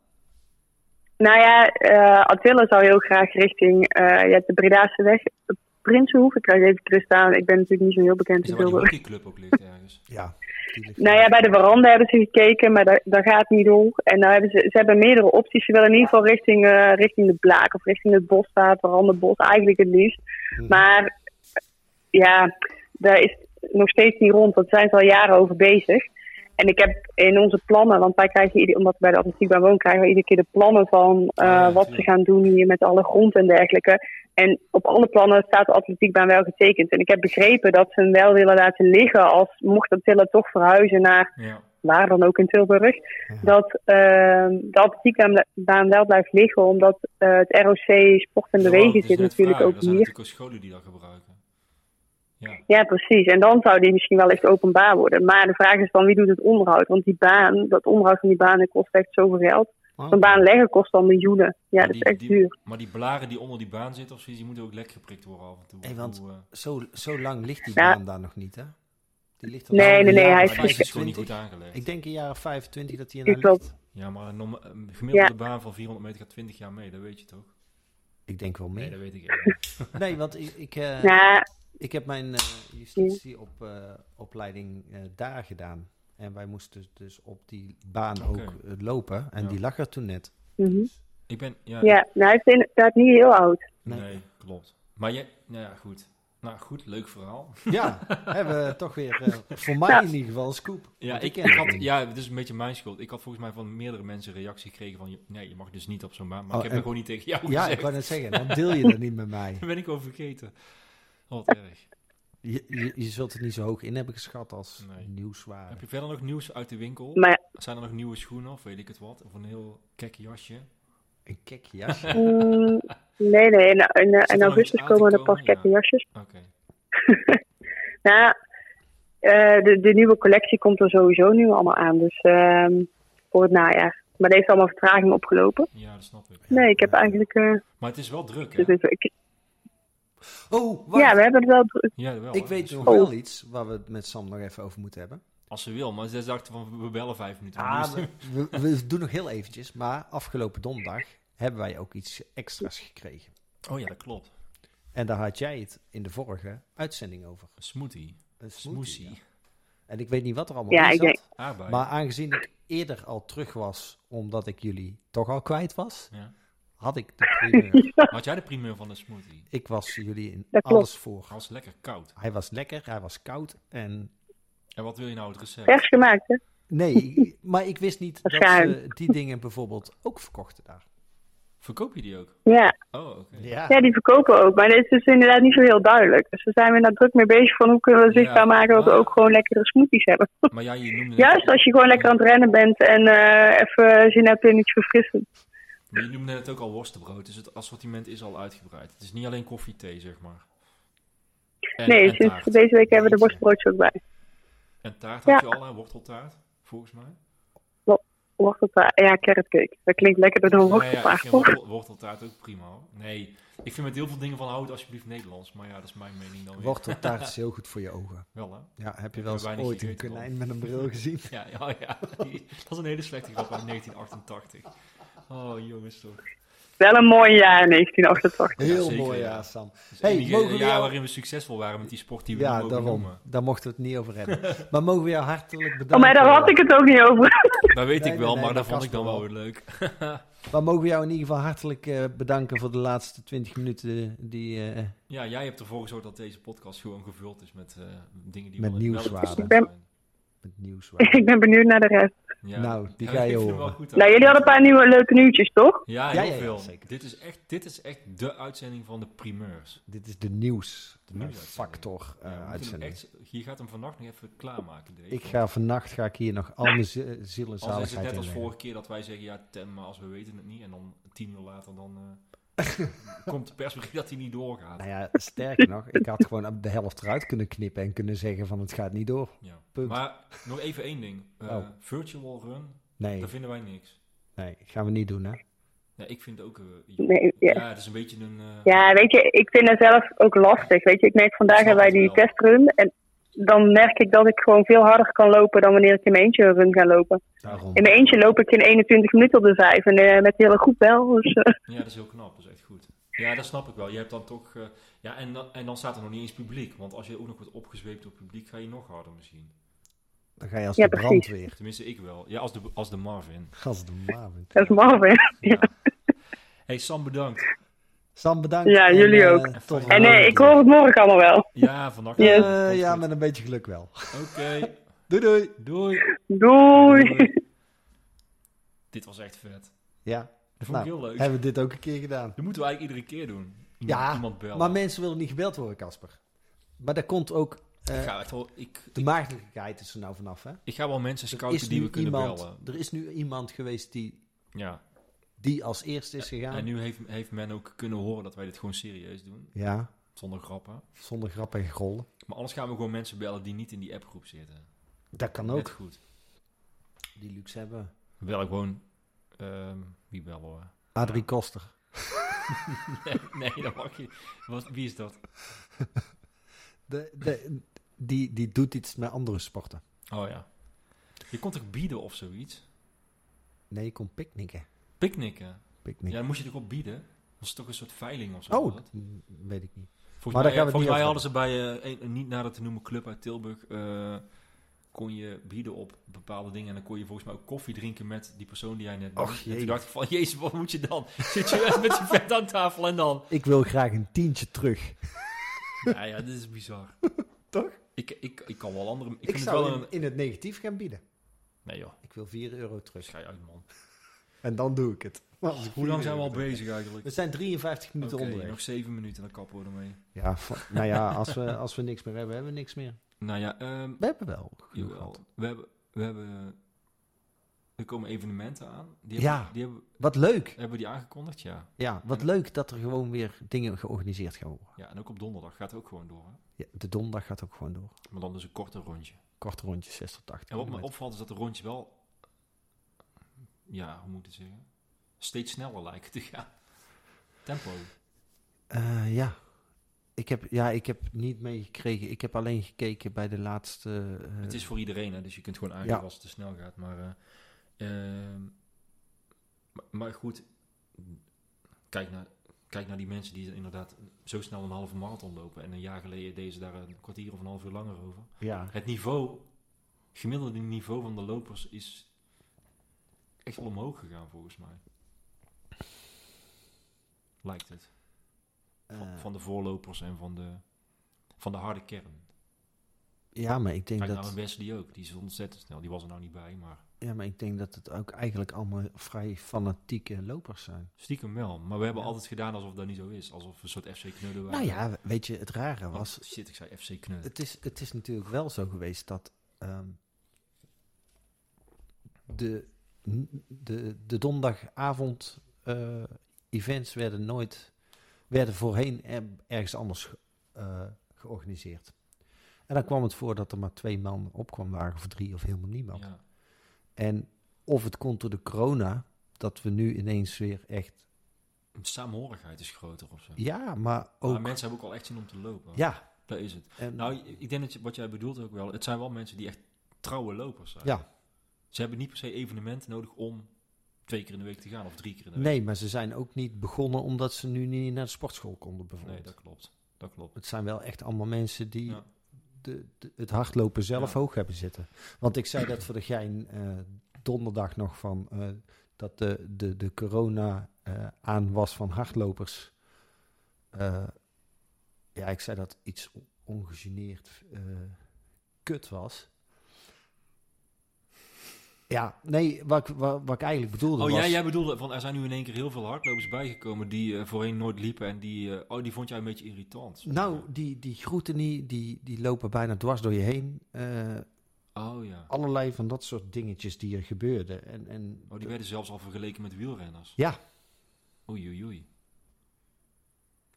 Speaker 4: Nou ja, eh Attila zou heel graag richting eh ja, de Bredaanse weg. Prinsenhoef, ik krijg even terugstaan. Ik ben natuurlijk niet zo heel bekend
Speaker 3: Is
Speaker 4: in
Speaker 3: dat waar die
Speaker 4: Tilburg.
Speaker 3: hockeyclub ook ligt ergens?
Speaker 2: Ja. die ligt-
Speaker 4: Nou ja, bij de veranda hebben ze gekeken, maar dat, dat gaat niet door. En nou hebben ze, ze hebben meerdere opties. Ze willen in ieder geval richting, eh, richting de Blaak of richting het Bosvaart, Verandebos eigenlijk het liefst.
Speaker 2: Mhm.
Speaker 4: Maar eh, ja, daar is nog steeds niet rond, want daar zijn ze al jaren over bezig. En ik heb in onze plannen, want wij krijgen, ieder- omdat we bij de atletiekbaan wonen, krijgen we iedere keer de plannen van eh,
Speaker 3: ja,
Speaker 4: wat ze
Speaker 3: tuurlijk.
Speaker 4: gaan doen hier met alle grond en dergelijke. En op alle plannen staat de atletiekbaan wel getekend. En ik heb begrepen dat ze hem wel willen laten liggen als mocht Attila toch verhuizen naar
Speaker 3: Ja.
Speaker 4: waar dan ook in Tilburg,
Speaker 2: Ja.
Speaker 4: dat eh, de atletiekbaan wel blijft liggen, omdat eh, het ROC Sport en
Speaker 3: Ja,
Speaker 4: Bewegen
Speaker 3: dat is
Speaker 4: zit
Speaker 3: net
Speaker 4: natuurlijk
Speaker 3: vragen.
Speaker 4: ook
Speaker 3: Er zijn
Speaker 4: hier.
Speaker 3: natuurlijk ook scholen die dat gebruiken.
Speaker 4: Ja, precies. En dan zou die misschien wel echt openbaar worden. Maar de vraag is dan wie doet het onderhoud? Want die baan, dat onderhoud van die baan, dat kost echt zoveel geld.
Speaker 2: Oh.
Speaker 4: Zo'n baan leggen kost dan miljoenen. Ja,
Speaker 3: Maar
Speaker 4: dat is
Speaker 3: die-
Speaker 4: echt
Speaker 3: die-
Speaker 4: duur.
Speaker 3: Maar die blaren die onder die baan zitten of zoiets, die moeten ook lek geprikt worden af en toe.
Speaker 2: Hey, want-
Speaker 3: Hoe, eh, maar
Speaker 2: Zo, zo lang ligt die
Speaker 4: Ja.
Speaker 2: baan daar nog niet, hè? Die ligt er
Speaker 4: Nee,
Speaker 2: nou
Speaker 4: nee,
Speaker 2: een
Speaker 4: nee,
Speaker 2: jaar
Speaker 4: hij
Speaker 2: of
Speaker 4: is
Speaker 3: die is dus gewoon niet
Speaker 2: 25.
Speaker 3: goed aangelegd.
Speaker 2: Ik denk een jaar of 25 dat hij
Speaker 4: Ja,
Speaker 2: er nou
Speaker 4: klopt.
Speaker 2: ligt.
Speaker 3: Ja, maar een norm- een gemiddelde baan van 400 meter gaat 20 jaar mee, dat weet je toch?
Speaker 2: Ik denk wel
Speaker 3: Nee,
Speaker 2: meer.
Speaker 3: dat weet ik echt niet.
Speaker 2: Nee, want ik, ik, eh,
Speaker 4: Nou,
Speaker 2: ik heb mijn eh, justitieopleiding eh, daar gedaan. En wij moesten dus op die baan
Speaker 3: Oké.
Speaker 2: ook eh, lopen. En
Speaker 3: Ja.
Speaker 2: die lag er toen net.
Speaker 4: mhm.
Speaker 3: Ik ben, ja,
Speaker 4: Ja, nou, hij is inderdaad niet heel oud.
Speaker 2: Nee.
Speaker 3: nee. klopt. Maar je, nou ja, goed. Nou goed, leuk verhaal.
Speaker 2: Ja, hebben we toch weer, eh, voor mij
Speaker 4: Ja.
Speaker 2: in ieder geval, een scoop.
Speaker 3: Ja,
Speaker 2: Want
Speaker 3: ik,
Speaker 2: ken
Speaker 3: ik
Speaker 2: het
Speaker 3: had,
Speaker 2: niet.
Speaker 3: ja, het is een beetje mijn schuld. Ik had volgens mij van meerdere mensen reactie gekregen van... je- Nee, je mag dus niet op zo'n baan. Maar
Speaker 2: Oh,
Speaker 3: ik heb
Speaker 2: en-
Speaker 3: dat gewoon niet tegen jou
Speaker 2: Ja, ik
Speaker 3: gezegd.
Speaker 2: wou net zeggen, dan deel je dat niet met mij.
Speaker 3: Dat ben ik al vergeten. Wat erg.
Speaker 2: Je, je, je zult het niet zo hoog in hebben geschat als
Speaker 3: Nee.
Speaker 2: nieuwswaarde.
Speaker 3: Heb je verder nog nieuws uit de winkel?
Speaker 4: Maar
Speaker 3: Zijn er nog nieuwe schoenen of weet ik het wat? Of een heel kek jasje?
Speaker 2: Een kek jasje.
Speaker 4: mm, nee, nee. In, in, in
Speaker 3: Zit er nog iets
Speaker 4: augustus
Speaker 3: aan te
Speaker 4: komen er
Speaker 3: komen?
Speaker 4: pas kettenjasjes.
Speaker 3: Oké.
Speaker 4: Nou, eh, de, de nieuwe collectie komt er sowieso nu allemaal aan. Dus ehm, voor het najaar. Maar deze heeft allemaal vertraging opgelopen.
Speaker 3: Ja, dat snap ik.
Speaker 4: Nee, ik heb eigenlijk... eh,
Speaker 3: Maar het is wel druk, hè?
Speaker 4: dus ik- ik-
Speaker 2: Oh, wacht.
Speaker 4: ja, we hebben het wel druk.
Speaker 3: Ja, wel.
Speaker 2: Ik
Speaker 3: hè?
Speaker 2: weet
Speaker 3: Dus
Speaker 2: nog
Speaker 4: Oh.
Speaker 2: wel iets waar we het met Sam nog even over moeten hebben.
Speaker 3: Als ze wil, maar ze dachten van, we bellen vijf minuten. Dus-
Speaker 2: Ah,
Speaker 3: Nu is
Speaker 2: we,
Speaker 3: het-
Speaker 2: we- we doen nog heel eventjes, maar afgelopen donderdag hebben wij ook iets extra's gekregen.
Speaker 3: Oh ja, dat klopt.
Speaker 2: En daar had jij het in de vorige uitzending over.
Speaker 3: Een smoothie.
Speaker 2: Een smoothie.
Speaker 3: Smoothie.
Speaker 2: ja. En ik weet niet wat er allemaal
Speaker 4: Ja,
Speaker 2: in
Speaker 4: ik
Speaker 2: zat.
Speaker 4: denk-
Speaker 3: Aardbeien.
Speaker 2: Maar aangezien ik eerder al terug was, omdat ik jullie toch al kwijt was,
Speaker 3: Ja.
Speaker 2: had ik de primeur.
Speaker 3: Had jij de primeur van de smoothie?
Speaker 2: ik was jullie in
Speaker 4: Dat klopt.
Speaker 2: alles voor.
Speaker 3: Hij was lekker koud.
Speaker 2: Hij was lekker, hij was koud en
Speaker 3: En wat wil je nou het recept?
Speaker 4: Vers gemaakt, hè?
Speaker 2: Nee, maar ik wist niet dat ze
Speaker 4: Schuim.
Speaker 2: die dingen bijvoorbeeld ook verkochten daar.
Speaker 3: Verkoop je die ook?
Speaker 4: Ja.
Speaker 3: Oh, oké.
Speaker 4: Ja, die verkopen ook. Maar het is dus inderdaad niet zo heel duidelijk. Dus daar zijn we nou druk mee bezig van hoe kunnen we
Speaker 3: Ja.
Speaker 4: zichtbaar maken dat we
Speaker 3: Ah.
Speaker 4: ook gewoon lekkere smoothies hebben.
Speaker 3: Maar ja, je noemde,
Speaker 4: Juist
Speaker 3: net,
Speaker 4: als je gewoon lekker aan het rennen bent en eh, even zin hebt in iets verfrissends.
Speaker 3: maar je noemde net ook al worstenbrood, dus het assortiment is al uitgebreid. Het is niet alleen koffie, thee, zeg maar. En,
Speaker 4: Nee,
Speaker 3: en
Speaker 4: sinds
Speaker 3: taart.
Speaker 4: deze week hebben we de
Speaker 2: Jeetje.
Speaker 4: worstbroodjes ook bij.
Speaker 3: En taart
Speaker 4: Ja.
Speaker 3: had je al, hè? worteltaart, volgens mij.
Speaker 4: Worteltaart, eh, ja, carrotcake. Dat klinkt lekkerder dan
Speaker 3: Nou ja, ik
Speaker 4: worteltaart.
Speaker 3: vind
Speaker 4: toch?
Speaker 3: wortel- worteltaart ook prima hoor. Nee, ik vind met heel veel dingen van houd alsjeblieft Nederlands. Maar ja, dat is mijn mening dan weer.
Speaker 2: Worteltaart is heel goed voor je ogen.
Speaker 3: Wel hè?
Speaker 2: Ja, heb je wel
Speaker 3: Ik heb
Speaker 2: eens
Speaker 3: er weinig
Speaker 2: ooit een
Speaker 3: gegeten,
Speaker 2: konijn met een bril gezien?
Speaker 3: Ja, ja, ja. Die- dat is een hele slechte grap uit 1988. Oh jongens toch.
Speaker 4: Wel een mooi jaar 1988.
Speaker 3: Ja,
Speaker 2: Heel
Speaker 3: zeker,
Speaker 2: mooi,
Speaker 3: ja.
Speaker 2: ja, Sam.
Speaker 3: Het
Speaker 2: Hey,
Speaker 3: Dus enige
Speaker 2: mogen we
Speaker 3: jaar
Speaker 2: jou-
Speaker 3: waarin we succesvol waren met die sport die we nu
Speaker 2: Ja,
Speaker 3: mogen
Speaker 2: daarom.
Speaker 3: noemen.
Speaker 2: Daar mochten we het niet over hebben. Maar mogen we jou hartelijk
Speaker 4: Oh,
Speaker 2: bedanken.
Speaker 4: maar daar had ik het ook niet over.
Speaker 3: Dat weet
Speaker 2: Nee,
Speaker 3: ik
Speaker 2: nee,
Speaker 3: wel,
Speaker 2: nee,
Speaker 3: maar
Speaker 2: dat
Speaker 3: dat vond ik
Speaker 2: Casper
Speaker 3: dan wel
Speaker 2: wel.
Speaker 3: weer leuk.
Speaker 2: Maar mogen we jou in ieder geval hartelijk eh, bedanken voor de laatste 20 minuten die eh,
Speaker 3: Ja, jij hebt ervoor gezorgd dat deze podcast gewoon gevuld is met eh, dingen die
Speaker 2: Met
Speaker 3: wel- wel
Speaker 2: nieuwswaarde.
Speaker 3: interessant
Speaker 4: Ik ben-
Speaker 3: zijn.
Speaker 2: het nieuws waren.
Speaker 4: ik ben benieuwd naar de rest.
Speaker 3: Ja.
Speaker 2: Nou, die
Speaker 3: Ja,
Speaker 2: ga je
Speaker 3: ik vind
Speaker 2: horen.
Speaker 3: hem wel goed, hè?
Speaker 4: Nou, jullie hadden een paar nieuwe leuke nieuwtjes, toch?
Speaker 3: Ja,
Speaker 2: Ja,
Speaker 3: heel
Speaker 2: ja, ja,
Speaker 3: veel.
Speaker 2: zeker.
Speaker 3: Dit, is echt, dit is echt de uitzending van de primeurs.
Speaker 2: Dit is de nieuws. De
Speaker 3: nieuwsuitzending.
Speaker 2: nieuwsfactor eh,
Speaker 3: Ja, we moeten hem
Speaker 2: uitzending.
Speaker 3: echt- je gaat hem vannacht nog even klaarmaken. Dave.
Speaker 2: Ik ga vannacht ga ik hier nog al mijn zi- ziel en
Speaker 3: Anders is het
Speaker 2: zaligheid
Speaker 3: net
Speaker 2: in eh.
Speaker 3: als
Speaker 2: leggen.
Speaker 3: vorige keer dat wij zeggen, ja, Tem, maar als we weten het niet. En dan tien uur later dan eh, komt de persbericht dat hij niet doorgaat.
Speaker 2: Nou ja, sterker nog, ik had gewoon aan de helft eruit kunnen knippen en kunnen zeggen van het gaat niet door.
Speaker 3: Ja.
Speaker 2: Punt.
Speaker 3: Maar nog even één ding. Eh,
Speaker 2: Oh.
Speaker 3: Virtual run,
Speaker 2: Nee,
Speaker 3: daar vinden wij niks.
Speaker 2: nee, gaan we niet doen hè.
Speaker 3: Ja, ik vind ook... eh,
Speaker 4: Nee, ja.
Speaker 3: ja. het is een beetje een... eh,
Speaker 4: Ja, weet je, ik vind dat zelf ook lastig. Weet je, ik merk vandaag
Speaker 3: Snap
Speaker 4: hebben
Speaker 3: het
Speaker 4: wij die
Speaker 3: wel.
Speaker 4: testrun. En dan merk ik dat ik gewoon veel harder kan lopen dan wanneer ik in mijn eentje een run ga lopen.
Speaker 2: Daarom.
Speaker 4: In mijn eentje loop ik in 21 minuten op de 5 en eh, met de hele groep wel. Dus, eh,
Speaker 3: Ja, dat is heel knap. Dat is echt goed. Ja, dat snap ik wel. Je hebt dan toch... eh, ja, en, dan- en dan staat er nog niet eens publiek. Want als je ook nog wordt opgezweept door publiek, ga je nog harder misschien.
Speaker 2: Dan ga je als
Speaker 4: Ja,
Speaker 2: de
Speaker 4: precies.
Speaker 2: brandweer.
Speaker 3: Tenminste, ik wel. Ja, als de, als de Marvin.
Speaker 2: Als de Marvin.
Speaker 4: dat is Marvin.
Speaker 3: Ja. hey Sam, bedankt.
Speaker 2: Sam, bedankt.
Speaker 4: Ja, jullie
Speaker 2: eh,
Speaker 4: ook.
Speaker 2: tot de
Speaker 4: En nee,
Speaker 2: volgende
Speaker 4: ik
Speaker 2: keer.
Speaker 4: hoor het morgen allemaal wel.
Speaker 3: Ja, vannacht.
Speaker 4: Yes.
Speaker 2: Eh,
Speaker 3: Komt
Speaker 2: ja,
Speaker 3: goed.
Speaker 2: met een beetje geluk wel.
Speaker 3: Oké,
Speaker 2: Doei doei.
Speaker 3: doei.
Speaker 4: Doei.
Speaker 3: Dit was echt vet.
Speaker 2: Ja,
Speaker 3: Dat vond
Speaker 2: nou,
Speaker 3: ik heel leuk.
Speaker 2: hebben we dit ook een keer gedaan.
Speaker 3: Dat moeten we eigenlijk iedere keer doen. Iemand,
Speaker 2: Ja,
Speaker 3: iemand bellen.
Speaker 2: maar mensen willen niet gebeld worden, Casper. Maar daar komt ook eh,
Speaker 3: ik, ga echt wel, ik,
Speaker 2: de maagdelijkheid is er nou vanaf, hè?
Speaker 3: ik ga wel mensen
Speaker 2: Er is,
Speaker 3: scouten die
Speaker 2: nu
Speaker 3: we kunnen
Speaker 2: iemand,
Speaker 3: bellen.
Speaker 2: er is nu iemand geweest die,
Speaker 3: Ja.
Speaker 2: die als eerste is gegaan.
Speaker 3: En nu heeft, heeft men ook kunnen horen dat wij dit gewoon serieus doen.
Speaker 2: Ja,
Speaker 3: Zonder grappen.
Speaker 2: zonder grap en grollen.
Speaker 3: Maar anders gaan we gewoon mensen bellen die niet in die appgroep zitten.
Speaker 2: Dat kan
Speaker 3: Net
Speaker 2: ook.
Speaker 3: goed.
Speaker 2: Die luxe hebben.
Speaker 3: We bellen gewoon... ehm, wie bellen we?
Speaker 2: Adrie Koster.
Speaker 3: Nee, nee, dat mag je. Wat, wie is dat?
Speaker 2: De, de, die, die doet iets met andere sporten.
Speaker 3: Oh ja. Je kon toch bieden of zoiets?
Speaker 2: Nee, ik kom picknicken.
Speaker 3: Picknicken. Ja,
Speaker 2: Picknicken.
Speaker 3: dan moest je toch op bieden? Dat is toch een soort veiling of zo?
Speaker 2: oh,
Speaker 3: was het?
Speaker 2: dat weet ik niet.
Speaker 3: Volgens
Speaker 2: Maar daar
Speaker 3: mij,
Speaker 2: gaan we het
Speaker 3: volgens mij
Speaker 2: niet
Speaker 3: hadden ze bij eh, een, een niet nader te noemen club uit Tilburg. eh, kon je bieden op bepaalde dingen. En dan kon je volgens mij ook koffie drinken met die persoon die jij net
Speaker 2: Och,
Speaker 3: noemde. En
Speaker 2: jee.
Speaker 3: toen dacht ik van, jezus, wat moet je dan? Zit je wel met die vet aan tafel en dan?
Speaker 2: Ik wil graag een tientje terug.
Speaker 3: Ja, ja, dit is bizar.
Speaker 2: Toch?
Speaker 3: Ik, ik, ik kan wel andere... Ik,
Speaker 2: Ik,
Speaker 3: vind het
Speaker 2: zou
Speaker 3: wel
Speaker 2: in,
Speaker 3: een...
Speaker 2: in het negatief gaan bieden.
Speaker 3: Nee joh,
Speaker 2: Ik wil 4 euro terug.
Speaker 3: schei uit man.
Speaker 2: En dan doe ik het.
Speaker 3: Hoe lang zijn we al
Speaker 2: eh,
Speaker 3: bezig eigenlijk?
Speaker 2: We zijn 53 minuten
Speaker 3: Oké,
Speaker 2: onderweg.
Speaker 3: nog zeven minuten en dan kappen we ermee.
Speaker 2: Ja, va- nou ja, als we, als we niks meer hebben, hebben we niks meer.
Speaker 3: Nou ja, ehm,
Speaker 2: We hebben wel. genoeg
Speaker 3: Jawel.
Speaker 2: gehad.
Speaker 3: We hebben, we hebben... Er komen evenementen aan. Die
Speaker 2: Ja.
Speaker 3: hebben, die hebben,
Speaker 2: Wat leuk.
Speaker 3: hebben we die aangekondigd? Ja.
Speaker 2: Ja, wat leuk dat er gewoon weer dingen georganiseerd gaan worden.
Speaker 3: Ja, en ook op donderdag gaat het ook gewoon door. Hè?
Speaker 2: Ja, de donderdag gaat ook gewoon door.
Speaker 3: Maar dan dus een korte rondje.
Speaker 2: Kort rondje, 6 tot 8
Speaker 3: En wat me
Speaker 2: kilometer.
Speaker 3: opvalt is dat de rondje wel... Ja, hoe moet ik het zeggen? Steeds sneller lijken te gaan. Tempo.
Speaker 2: Eh, ja. Ik heb, ja, ik heb niet meegekregen. Ik heb alleen gekeken bij de laatste... eh,
Speaker 3: Het is voor iedereen, hè, dus je kunt gewoon aangeven
Speaker 2: Ja.
Speaker 3: als het te snel gaat. Maar, eh, ehm, maar, maar goed, kijk naar, kijk naar die mensen die inderdaad zo snel een halve marathon lopen. En een jaar geleden deden ze daar een kwartier of een half uur langer over.
Speaker 2: ja.
Speaker 3: Het niveau, gemiddelde niveau van de lopers is echt wel omhoog gegaan volgens mij. Lijkt het. Van,
Speaker 2: eh,
Speaker 3: van de voorlopers en van de, van de harde kern.
Speaker 2: ja, maar ik denk
Speaker 3: Kijk nou
Speaker 2: dat...
Speaker 3: een Wesley ook, die is ontzettend snel. Die was er nou niet bij, maar
Speaker 2: Ja, maar ik denk dat het ook eigenlijk allemaal vrij fanatieke lopers zijn.
Speaker 3: stiekem wel. Maar we hebben
Speaker 2: Ja.
Speaker 3: altijd gedaan alsof dat niet zo is. Alsof we een soort FC Knudden waren.
Speaker 2: Nou ja, weet je, het rare
Speaker 3: Want,
Speaker 2: was...
Speaker 3: shit, ik zei FC Knudden.
Speaker 2: Het is, het is natuurlijk wel zo geweest dat ehm, de, de, de donderdagavond eh, events werden nooit werden voorheen er- ergens anders ge- eh, georganiseerd. En dan kwam het voor dat er maar twee man opkwam waren of drie of helemaal niemand.
Speaker 3: Ja.
Speaker 2: En of het komt door de corona dat we nu ineens weer echt
Speaker 3: Saamhorigheid is groter of zo.
Speaker 2: ja, maar
Speaker 3: Maar
Speaker 2: ook
Speaker 3: mensen hebben ook al echt zin om te lopen.
Speaker 2: ja.
Speaker 3: Dat is het.
Speaker 2: En,
Speaker 3: Nou, ik denk dat je- wat jij bedoelt ook wel. Het zijn wel mensen die echt trouwe lopers zijn.
Speaker 2: Ja.
Speaker 3: Ze hebben niet per se evenementen nodig om twee keer in de week te gaan of drie keer in de week.
Speaker 2: nee, maar ze zijn ook niet begonnen omdat ze nu niet naar de sportschool konden bijvoorbeeld.
Speaker 3: nee dat klopt. Dat klopt.
Speaker 2: Het zijn wel echt allemaal mensen die
Speaker 3: Ja.
Speaker 2: de, de- het hardlopen zelf
Speaker 3: Ja.
Speaker 2: hoog hebben zitten. Want ik zei dat voor de gein eh, donderdag nog van... eh, dat de, de, de corona eh, aan was van hardlopers. eh, ja, ik zei dat iets on- ongegeneerd eh, kut was. Ja, nee, wat ik, wat, wat ik eigenlijk bedoelde
Speaker 3: Oh,
Speaker 2: was...
Speaker 3: jij, jij bedoelde van er zijn nu in één keer heel veel hardlopers bijgekomen die eh, voorheen nooit liepen en die, eh, oh, die vond jij een beetje irritant.
Speaker 2: Nou, die, die groeten niet, die, die lopen bijna dwars door je heen. Eh,
Speaker 3: Oh ja.
Speaker 2: allerlei van dat soort dingetjes die er gebeurden. En, en
Speaker 3: Oh, die werden zelfs al vergeleken met wielrenners.
Speaker 2: Ja.
Speaker 3: Oei, oei, oei.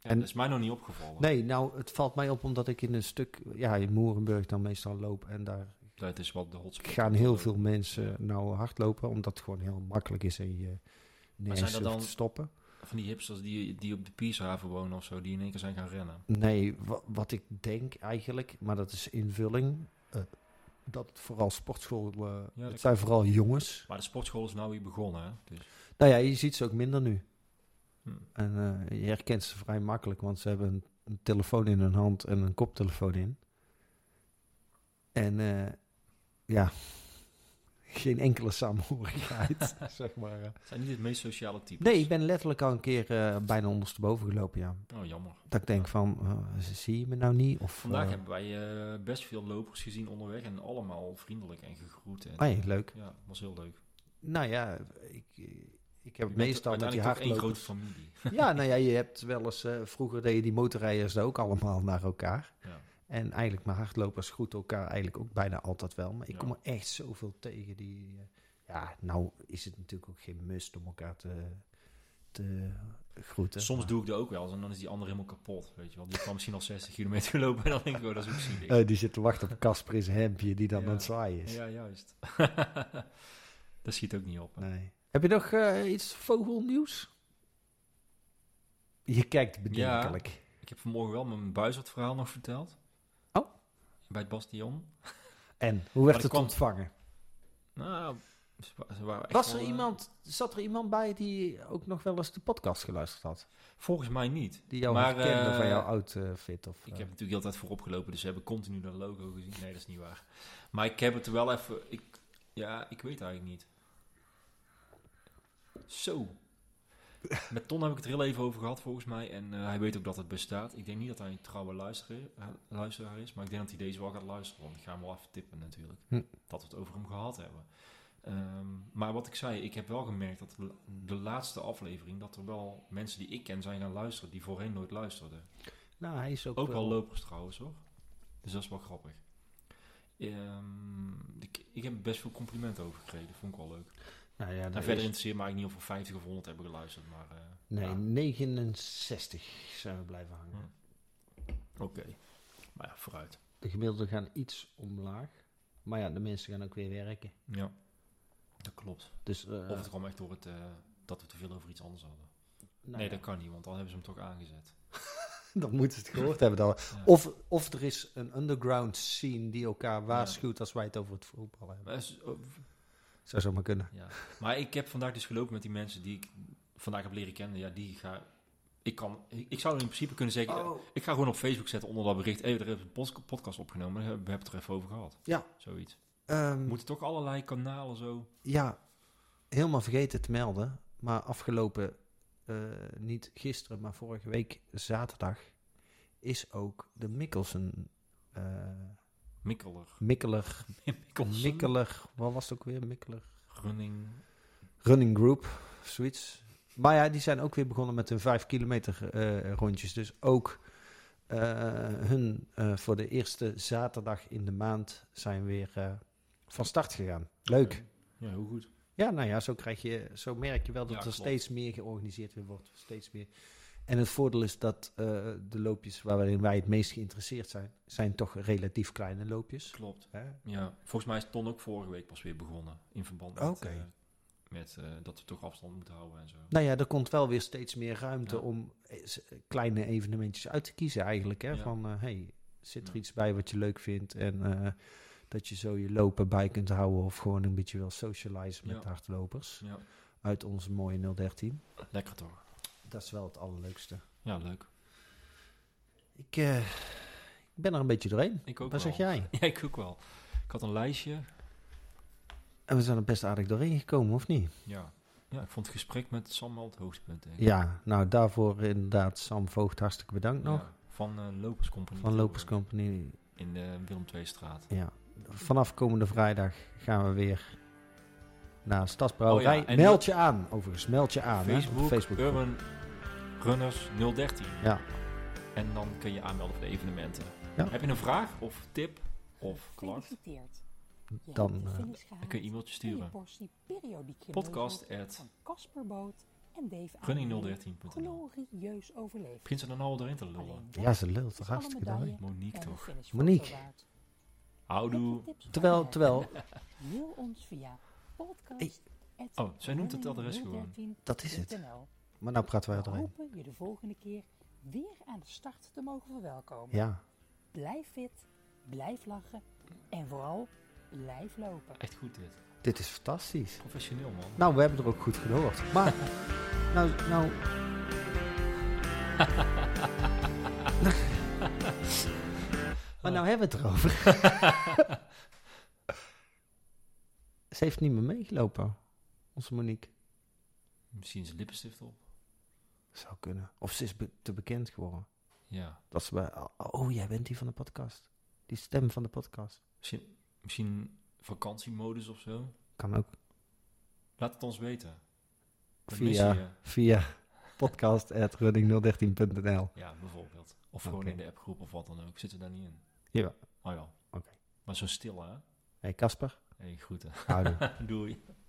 Speaker 3: Ja,
Speaker 2: En-
Speaker 3: dat is mij nog niet opgevallen.
Speaker 2: Nee, nou, het valt mij op omdat ik in een stuk, ja, in Moerenburg dan meestal loop. En daar
Speaker 3: Dat is wat de hotspot.
Speaker 2: gaan heel veel mensen nou hardlopen, omdat het gewoon heel makkelijk is en je
Speaker 3: zijn
Speaker 2: nergens
Speaker 3: dat
Speaker 2: hoeft
Speaker 3: dan-
Speaker 2: te stoppen.
Speaker 3: Van die hipsters die, die op de Piershaven wonen of zo, die in één keer zijn gaan rennen.
Speaker 2: Nee, wa- wat ik denk eigenlijk, maar dat is invulling, eh, dat vooral sportschool, eh,
Speaker 3: dat
Speaker 2: het zijn vooral jongens.
Speaker 3: Maar de sportschool is nou weer begonnen, hè? Dus,
Speaker 2: Nou ja, je ziet ze ook minder nu.
Speaker 3: Hm.
Speaker 2: En eh, je herkent ze vrij makkelijk, want ze hebben een, een telefoon in hun hand en een koptelefoon in. En eh, ja, geen enkele saamhorigheid, zeg maar. eh.
Speaker 3: zijn niet het meest sociale type.
Speaker 2: Nee, ik ben letterlijk al een keer eh, bijna ondersteboven gelopen, ja.
Speaker 3: Oh, jammer.
Speaker 2: Dat ik denk van, eh, zie je me nou niet? Of,
Speaker 3: Vandaag
Speaker 2: eh,
Speaker 3: hebben wij eh, best veel lopers gezien onderweg en allemaal vriendelijk en gegroet. En,
Speaker 2: hey, leuk.
Speaker 3: Ah, Ja, was heel leuk.
Speaker 2: Nou ja, ik, ik
Speaker 3: Je
Speaker 2: heb
Speaker 3: bent
Speaker 2: meestal met die
Speaker 3: uiteindelijk toch één
Speaker 2: hardlopers...
Speaker 3: grote familie.
Speaker 2: Ja, nou ja, je hebt wel eens... eh, vroeger deden die motorrijders dat ook allemaal naar elkaar.
Speaker 3: Ja.
Speaker 2: En eigenlijk mijn hardlopers groeten elkaar eigenlijk ook bijna altijd wel. Maar ik
Speaker 3: Ja.
Speaker 2: kom er echt zoveel tegen die... eh, ja, nou is het natuurlijk ook geen must om elkaar te, te groeten.
Speaker 3: Soms
Speaker 2: Maar,
Speaker 3: doe ik dat ook wel eens en dan is die ander helemaal kapot. Weet je wel. Die kwam misschien al 60 kilometer gelopen en dan denk ik, oh, dat is ook zielig.
Speaker 2: eh, die zit te wachten op Casper in zijn hemdje die dan
Speaker 3: Ja.
Speaker 2: aan het zwaaien is.
Speaker 3: ja, juist. dat schiet ook niet op. hè.
Speaker 2: Nee. Heb je nog eh, iets vogelnieuws? Je kijkt bedenkelijk.
Speaker 3: Ik heb vanmorgen wel mijn buizerdverhaal nog verteld.
Speaker 2: Oh.
Speaker 3: Bij het Bastion.
Speaker 2: En, hoe
Speaker 3: Maar
Speaker 2: werd
Speaker 3: dat
Speaker 2: het
Speaker 3: kwam-
Speaker 2: ontvangen?
Speaker 3: Nou, ze wa- ze waren echt
Speaker 2: Was er
Speaker 3: wel, eh,
Speaker 2: iemand, zat er iemand bij die ook nog wel eens de podcast geluisterd had?
Speaker 3: Volgens mij niet.
Speaker 2: Die jou
Speaker 3: Maar,
Speaker 2: herkende
Speaker 3: eh,
Speaker 2: van jouw outfit? Of,
Speaker 3: Ik
Speaker 2: eh,
Speaker 3: heb natuurlijk altijd voorop gelopen, dus ze hebben continu dat logo gezien. Nee, dat is niet waar. Maar ik heb het er wel even... Ik, ja, ik weet eigenlijk niet. Zo. Met Ton heb ik het er heel even over gehad, volgens mij. En eh, hij weet ook dat het bestaat. Ik denk niet dat hij een trouwe luisteraar, eh, luisteraar is. Maar ik denk dat hij deze wel gaat luisteren. Want ik ga hem wel even tippen natuurlijk.
Speaker 2: Hm.
Speaker 3: Dat we het over hem gehad hebben. Ehm, maar wat ik zei, ik heb wel gemerkt dat de- de laatste aflevering... dat er wel mensen die ik ken zijn gaan luisteren... die voorheen nooit luisterden.
Speaker 2: nou, hij is ook,
Speaker 3: Ook wel
Speaker 2: wel-
Speaker 3: lopers trouwens, hoor. Dus dat is wel grappig. Ehm, ik, ik heb best veel complimenten over gekregen. Vond ik wel leuk.
Speaker 2: Nou ja,
Speaker 3: En
Speaker 2: daar
Speaker 3: verder
Speaker 2: is-
Speaker 3: interesseert me eigenlijk niet of we 50 of 100 hebben geluisterd. Maar eh,
Speaker 2: Nee,
Speaker 3: ja,
Speaker 2: 69 zijn we blijven
Speaker 3: Hm.
Speaker 2: hangen.
Speaker 3: oké. Maar ja, vooruit.
Speaker 2: De gemiddelden gaan iets omlaag. Maar ja, de mensen gaan ook weer werken.
Speaker 3: Ja, dat klopt.
Speaker 2: Dus, eh,
Speaker 3: Of het kwam echt door het, eh, dat we te veel over iets anders hadden.
Speaker 2: nou
Speaker 3: nee,
Speaker 2: ja,
Speaker 3: dat kan niet, want dan hebben ze hem toch aangezet.
Speaker 2: dan moeten ze het gehoord hebben. Dan.
Speaker 3: Ja.
Speaker 2: Of, of er is een underground scene die elkaar waarschuwt als wij het over het voetbal hebben.
Speaker 3: Maar, het is- oh,
Speaker 2: Zou zomaar kunnen.
Speaker 3: ja. maar ik heb vandaag dus gelopen met die mensen die ik vandaag heb leren kennen. Ja, die ga... Ik, kan, ik ik zou in principe kunnen zeggen... Ik ga gewoon op Facebook zetten onder dat bericht. Hé, er is een pod- podcast opgenomen. We hebben het er even over gehad.
Speaker 2: Ja.
Speaker 3: Zoiets.
Speaker 2: Ehm,
Speaker 3: We moeten toch allerlei kanalen zo.
Speaker 2: Ja, helemaal vergeten te melden. Maar afgelopen, eh, niet gisteren, maar vorige week zaterdag... is ook de Mikkelsen... eh,
Speaker 3: Mikkeler.
Speaker 2: Mikkeler,
Speaker 3: Mikkelsen.
Speaker 2: Mikkeler, wat was het ook weer? Mikkeler
Speaker 3: Running.
Speaker 2: Running Group, zoiets. Maar ja, die zijn ook weer begonnen met hun 5 kilometer eh, rondjes. Dus ook eh, hun eh, voor de eerste zaterdag in de maand zijn weer eh, van start gegaan. Leuk.
Speaker 3: Oké. Ja, heel goed.
Speaker 2: Ja, nou ja, zo, krijg je, zo merk je wel dat
Speaker 3: Ja,
Speaker 2: er
Speaker 3: klopt.
Speaker 2: steeds meer georganiseerd weer wordt. Steeds meer. En het voordeel is dat eh, de loopjes waarin wij het meest geïnteresseerd zijn, zijn toch relatief kleine loopjes.
Speaker 3: Klopt.
Speaker 2: Hè?
Speaker 3: Ja. Volgens mij is Ton ook vorige week pas weer begonnen. In verband met,
Speaker 2: Oké.
Speaker 3: eh, met eh, dat we toch afstand moeten houden en zo.
Speaker 2: Nou ja, er komt wel weer steeds meer ruimte
Speaker 3: Ja.
Speaker 2: om eh, s- kleine evenementjes uit te kiezen eigenlijk. Hè?
Speaker 3: Ja.
Speaker 2: Van, eh, hey, zit er
Speaker 3: Ja.
Speaker 2: iets bij wat je leuk vindt en eh, dat je zo je lopen bij kunt houden of gewoon een beetje wil socializen met
Speaker 3: Ja.
Speaker 2: de hardlopers
Speaker 3: Ja.
Speaker 2: uit onze mooie 013.
Speaker 3: Lekker toch?
Speaker 2: Dat is wel het allerleukste.
Speaker 3: Ja, leuk.
Speaker 2: Ik, eh, ik ben er een beetje doorheen.
Speaker 3: Ik ook
Speaker 2: Wat
Speaker 3: wel.
Speaker 2: zeg jij?
Speaker 3: Ja, ik ook wel. Ik had een lijstje.
Speaker 2: En we zijn er best aardig doorheen gekomen, of niet?
Speaker 3: Ja. Ja, ik vond het gesprek met Sam wel het hoogtepunt. denk ik.
Speaker 2: Ja, nou daarvoor inderdaad Sam Voogd hartstikke bedankt nog.
Speaker 3: Ja, van eh Lopers Company.
Speaker 2: Van Lopers Company.
Speaker 3: In de Willem II straat.
Speaker 2: Ja. Vanaf komende vrijdag gaan we weer naar Stadsbrouwerij.
Speaker 3: Oh ja, en
Speaker 2: meld je aan, overigens. Meld je aan. hè, op
Speaker 3: Facebook,
Speaker 2: de Facebook.
Speaker 3: Urban Runners 013.
Speaker 2: Ja.
Speaker 3: En dan kun je aanmelden voor de evenementen.
Speaker 2: Ja.
Speaker 3: Heb je een vraag of tip of klacht?
Speaker 1: Gefeliciteerd. Je
Speaker 2: Dan,
Speaker 1: hebt de
Speaker 2: eh,
Speaker 1: finish
Speaker 3: Dan
Speaker 1: gehaald
Speaker 3: kun je een mailtje
Speaker 1: en je
Speaker 3: sturen.
Speaker 1: portie periodiek je
Speaker 3: Podcast
Speaker 1: neushoorn
Speaker 3: at
Speaker 1: van Casper Boot en Dave Amelie
Speaker 3: running013.nl
Speaker 1: glorieus overleefd.
Speaker 3: Begint ze dan al erin te lullen?
Speaker 1: Alleen dat
Speaker 2: ja, ze lult
Speaker 1: is
Speaker 2: toch
Speaker 1: alle
Speaker 2: hartstikke
Speaker 1: medaille
Speaker 2: dan.
Speaker 3: Monique
Speaker 1: en de
Speaker 3: toch.
Speaker 1: finish
Speaker 2: Monique.
Speaker 1: foto waard.
Speaker 3: Houdoe.
Speaker 1: Heb je tips voor
Speaker 2: Terwijl,
Speaker 1: mij?
Speaker 2: terwijl,
Speaker 1: Mail ons via podcast.
Speaker 2: Hey.
Speaker 1: at
Speaker 3: Oh, zij noemt het adres gewoon.
Speaker 1: running013.nl.
Speaker 2: Dat is het. maar nou praten wij
Speaker 1: We
Speaker 2: erheen.
Speaker 1: hopen je de volgende keer weer aan de start te mogen verwelkomen.
Speaker 2: Ja,
Speaker 1: Blijf fit, blijf lachen en vooral blijf lopen.
Speaker 3: Echt goed dit.
Speaker 2: dit is fantastisch.
Speaker 3: Professioneel man.
Speaker 2: Nou, we hebben er ook goed gehoord. Maar, nou, nou... maar nou hebben we het erover. Ze heeft niet meer meegelopen, onze Monique.
Speaker 3: Misschien zijn lippenstift op.
Speaker 2: Zou kunnen. Of ze is be- te bekend geworden.
Speaker 3: Ja.
Speaker 2: Dat ze bij, oh, jij bent die van de podcast. Die stem van de podcast.
Speaker 3: Misschien, misschien vakantiemodus of zo.
Speaker 2: Kan ook
Speaker 3: Laat het ons weten. We missen
Speaker 2: via,
Speaker 3: je.
Speaker 2: via podcast.running013.nl.
Speaker 3: Ja, bijvoorbeeld. Of gewoon
Speaker 2: Oké.
Speaker 3: in de appgroep of wat dan ook. Zitten we daar niet in?
Speaker 2: Jawel.
Speaker 3: Oh ja.
Speaker 2: Oké.
Speaker 3: Maar zo stil hè?
Speaker 2: Hé hey Kasper,
Speaker 3: Hey, groeten.
Speaker 2: houden.
Speaker 3: Doei.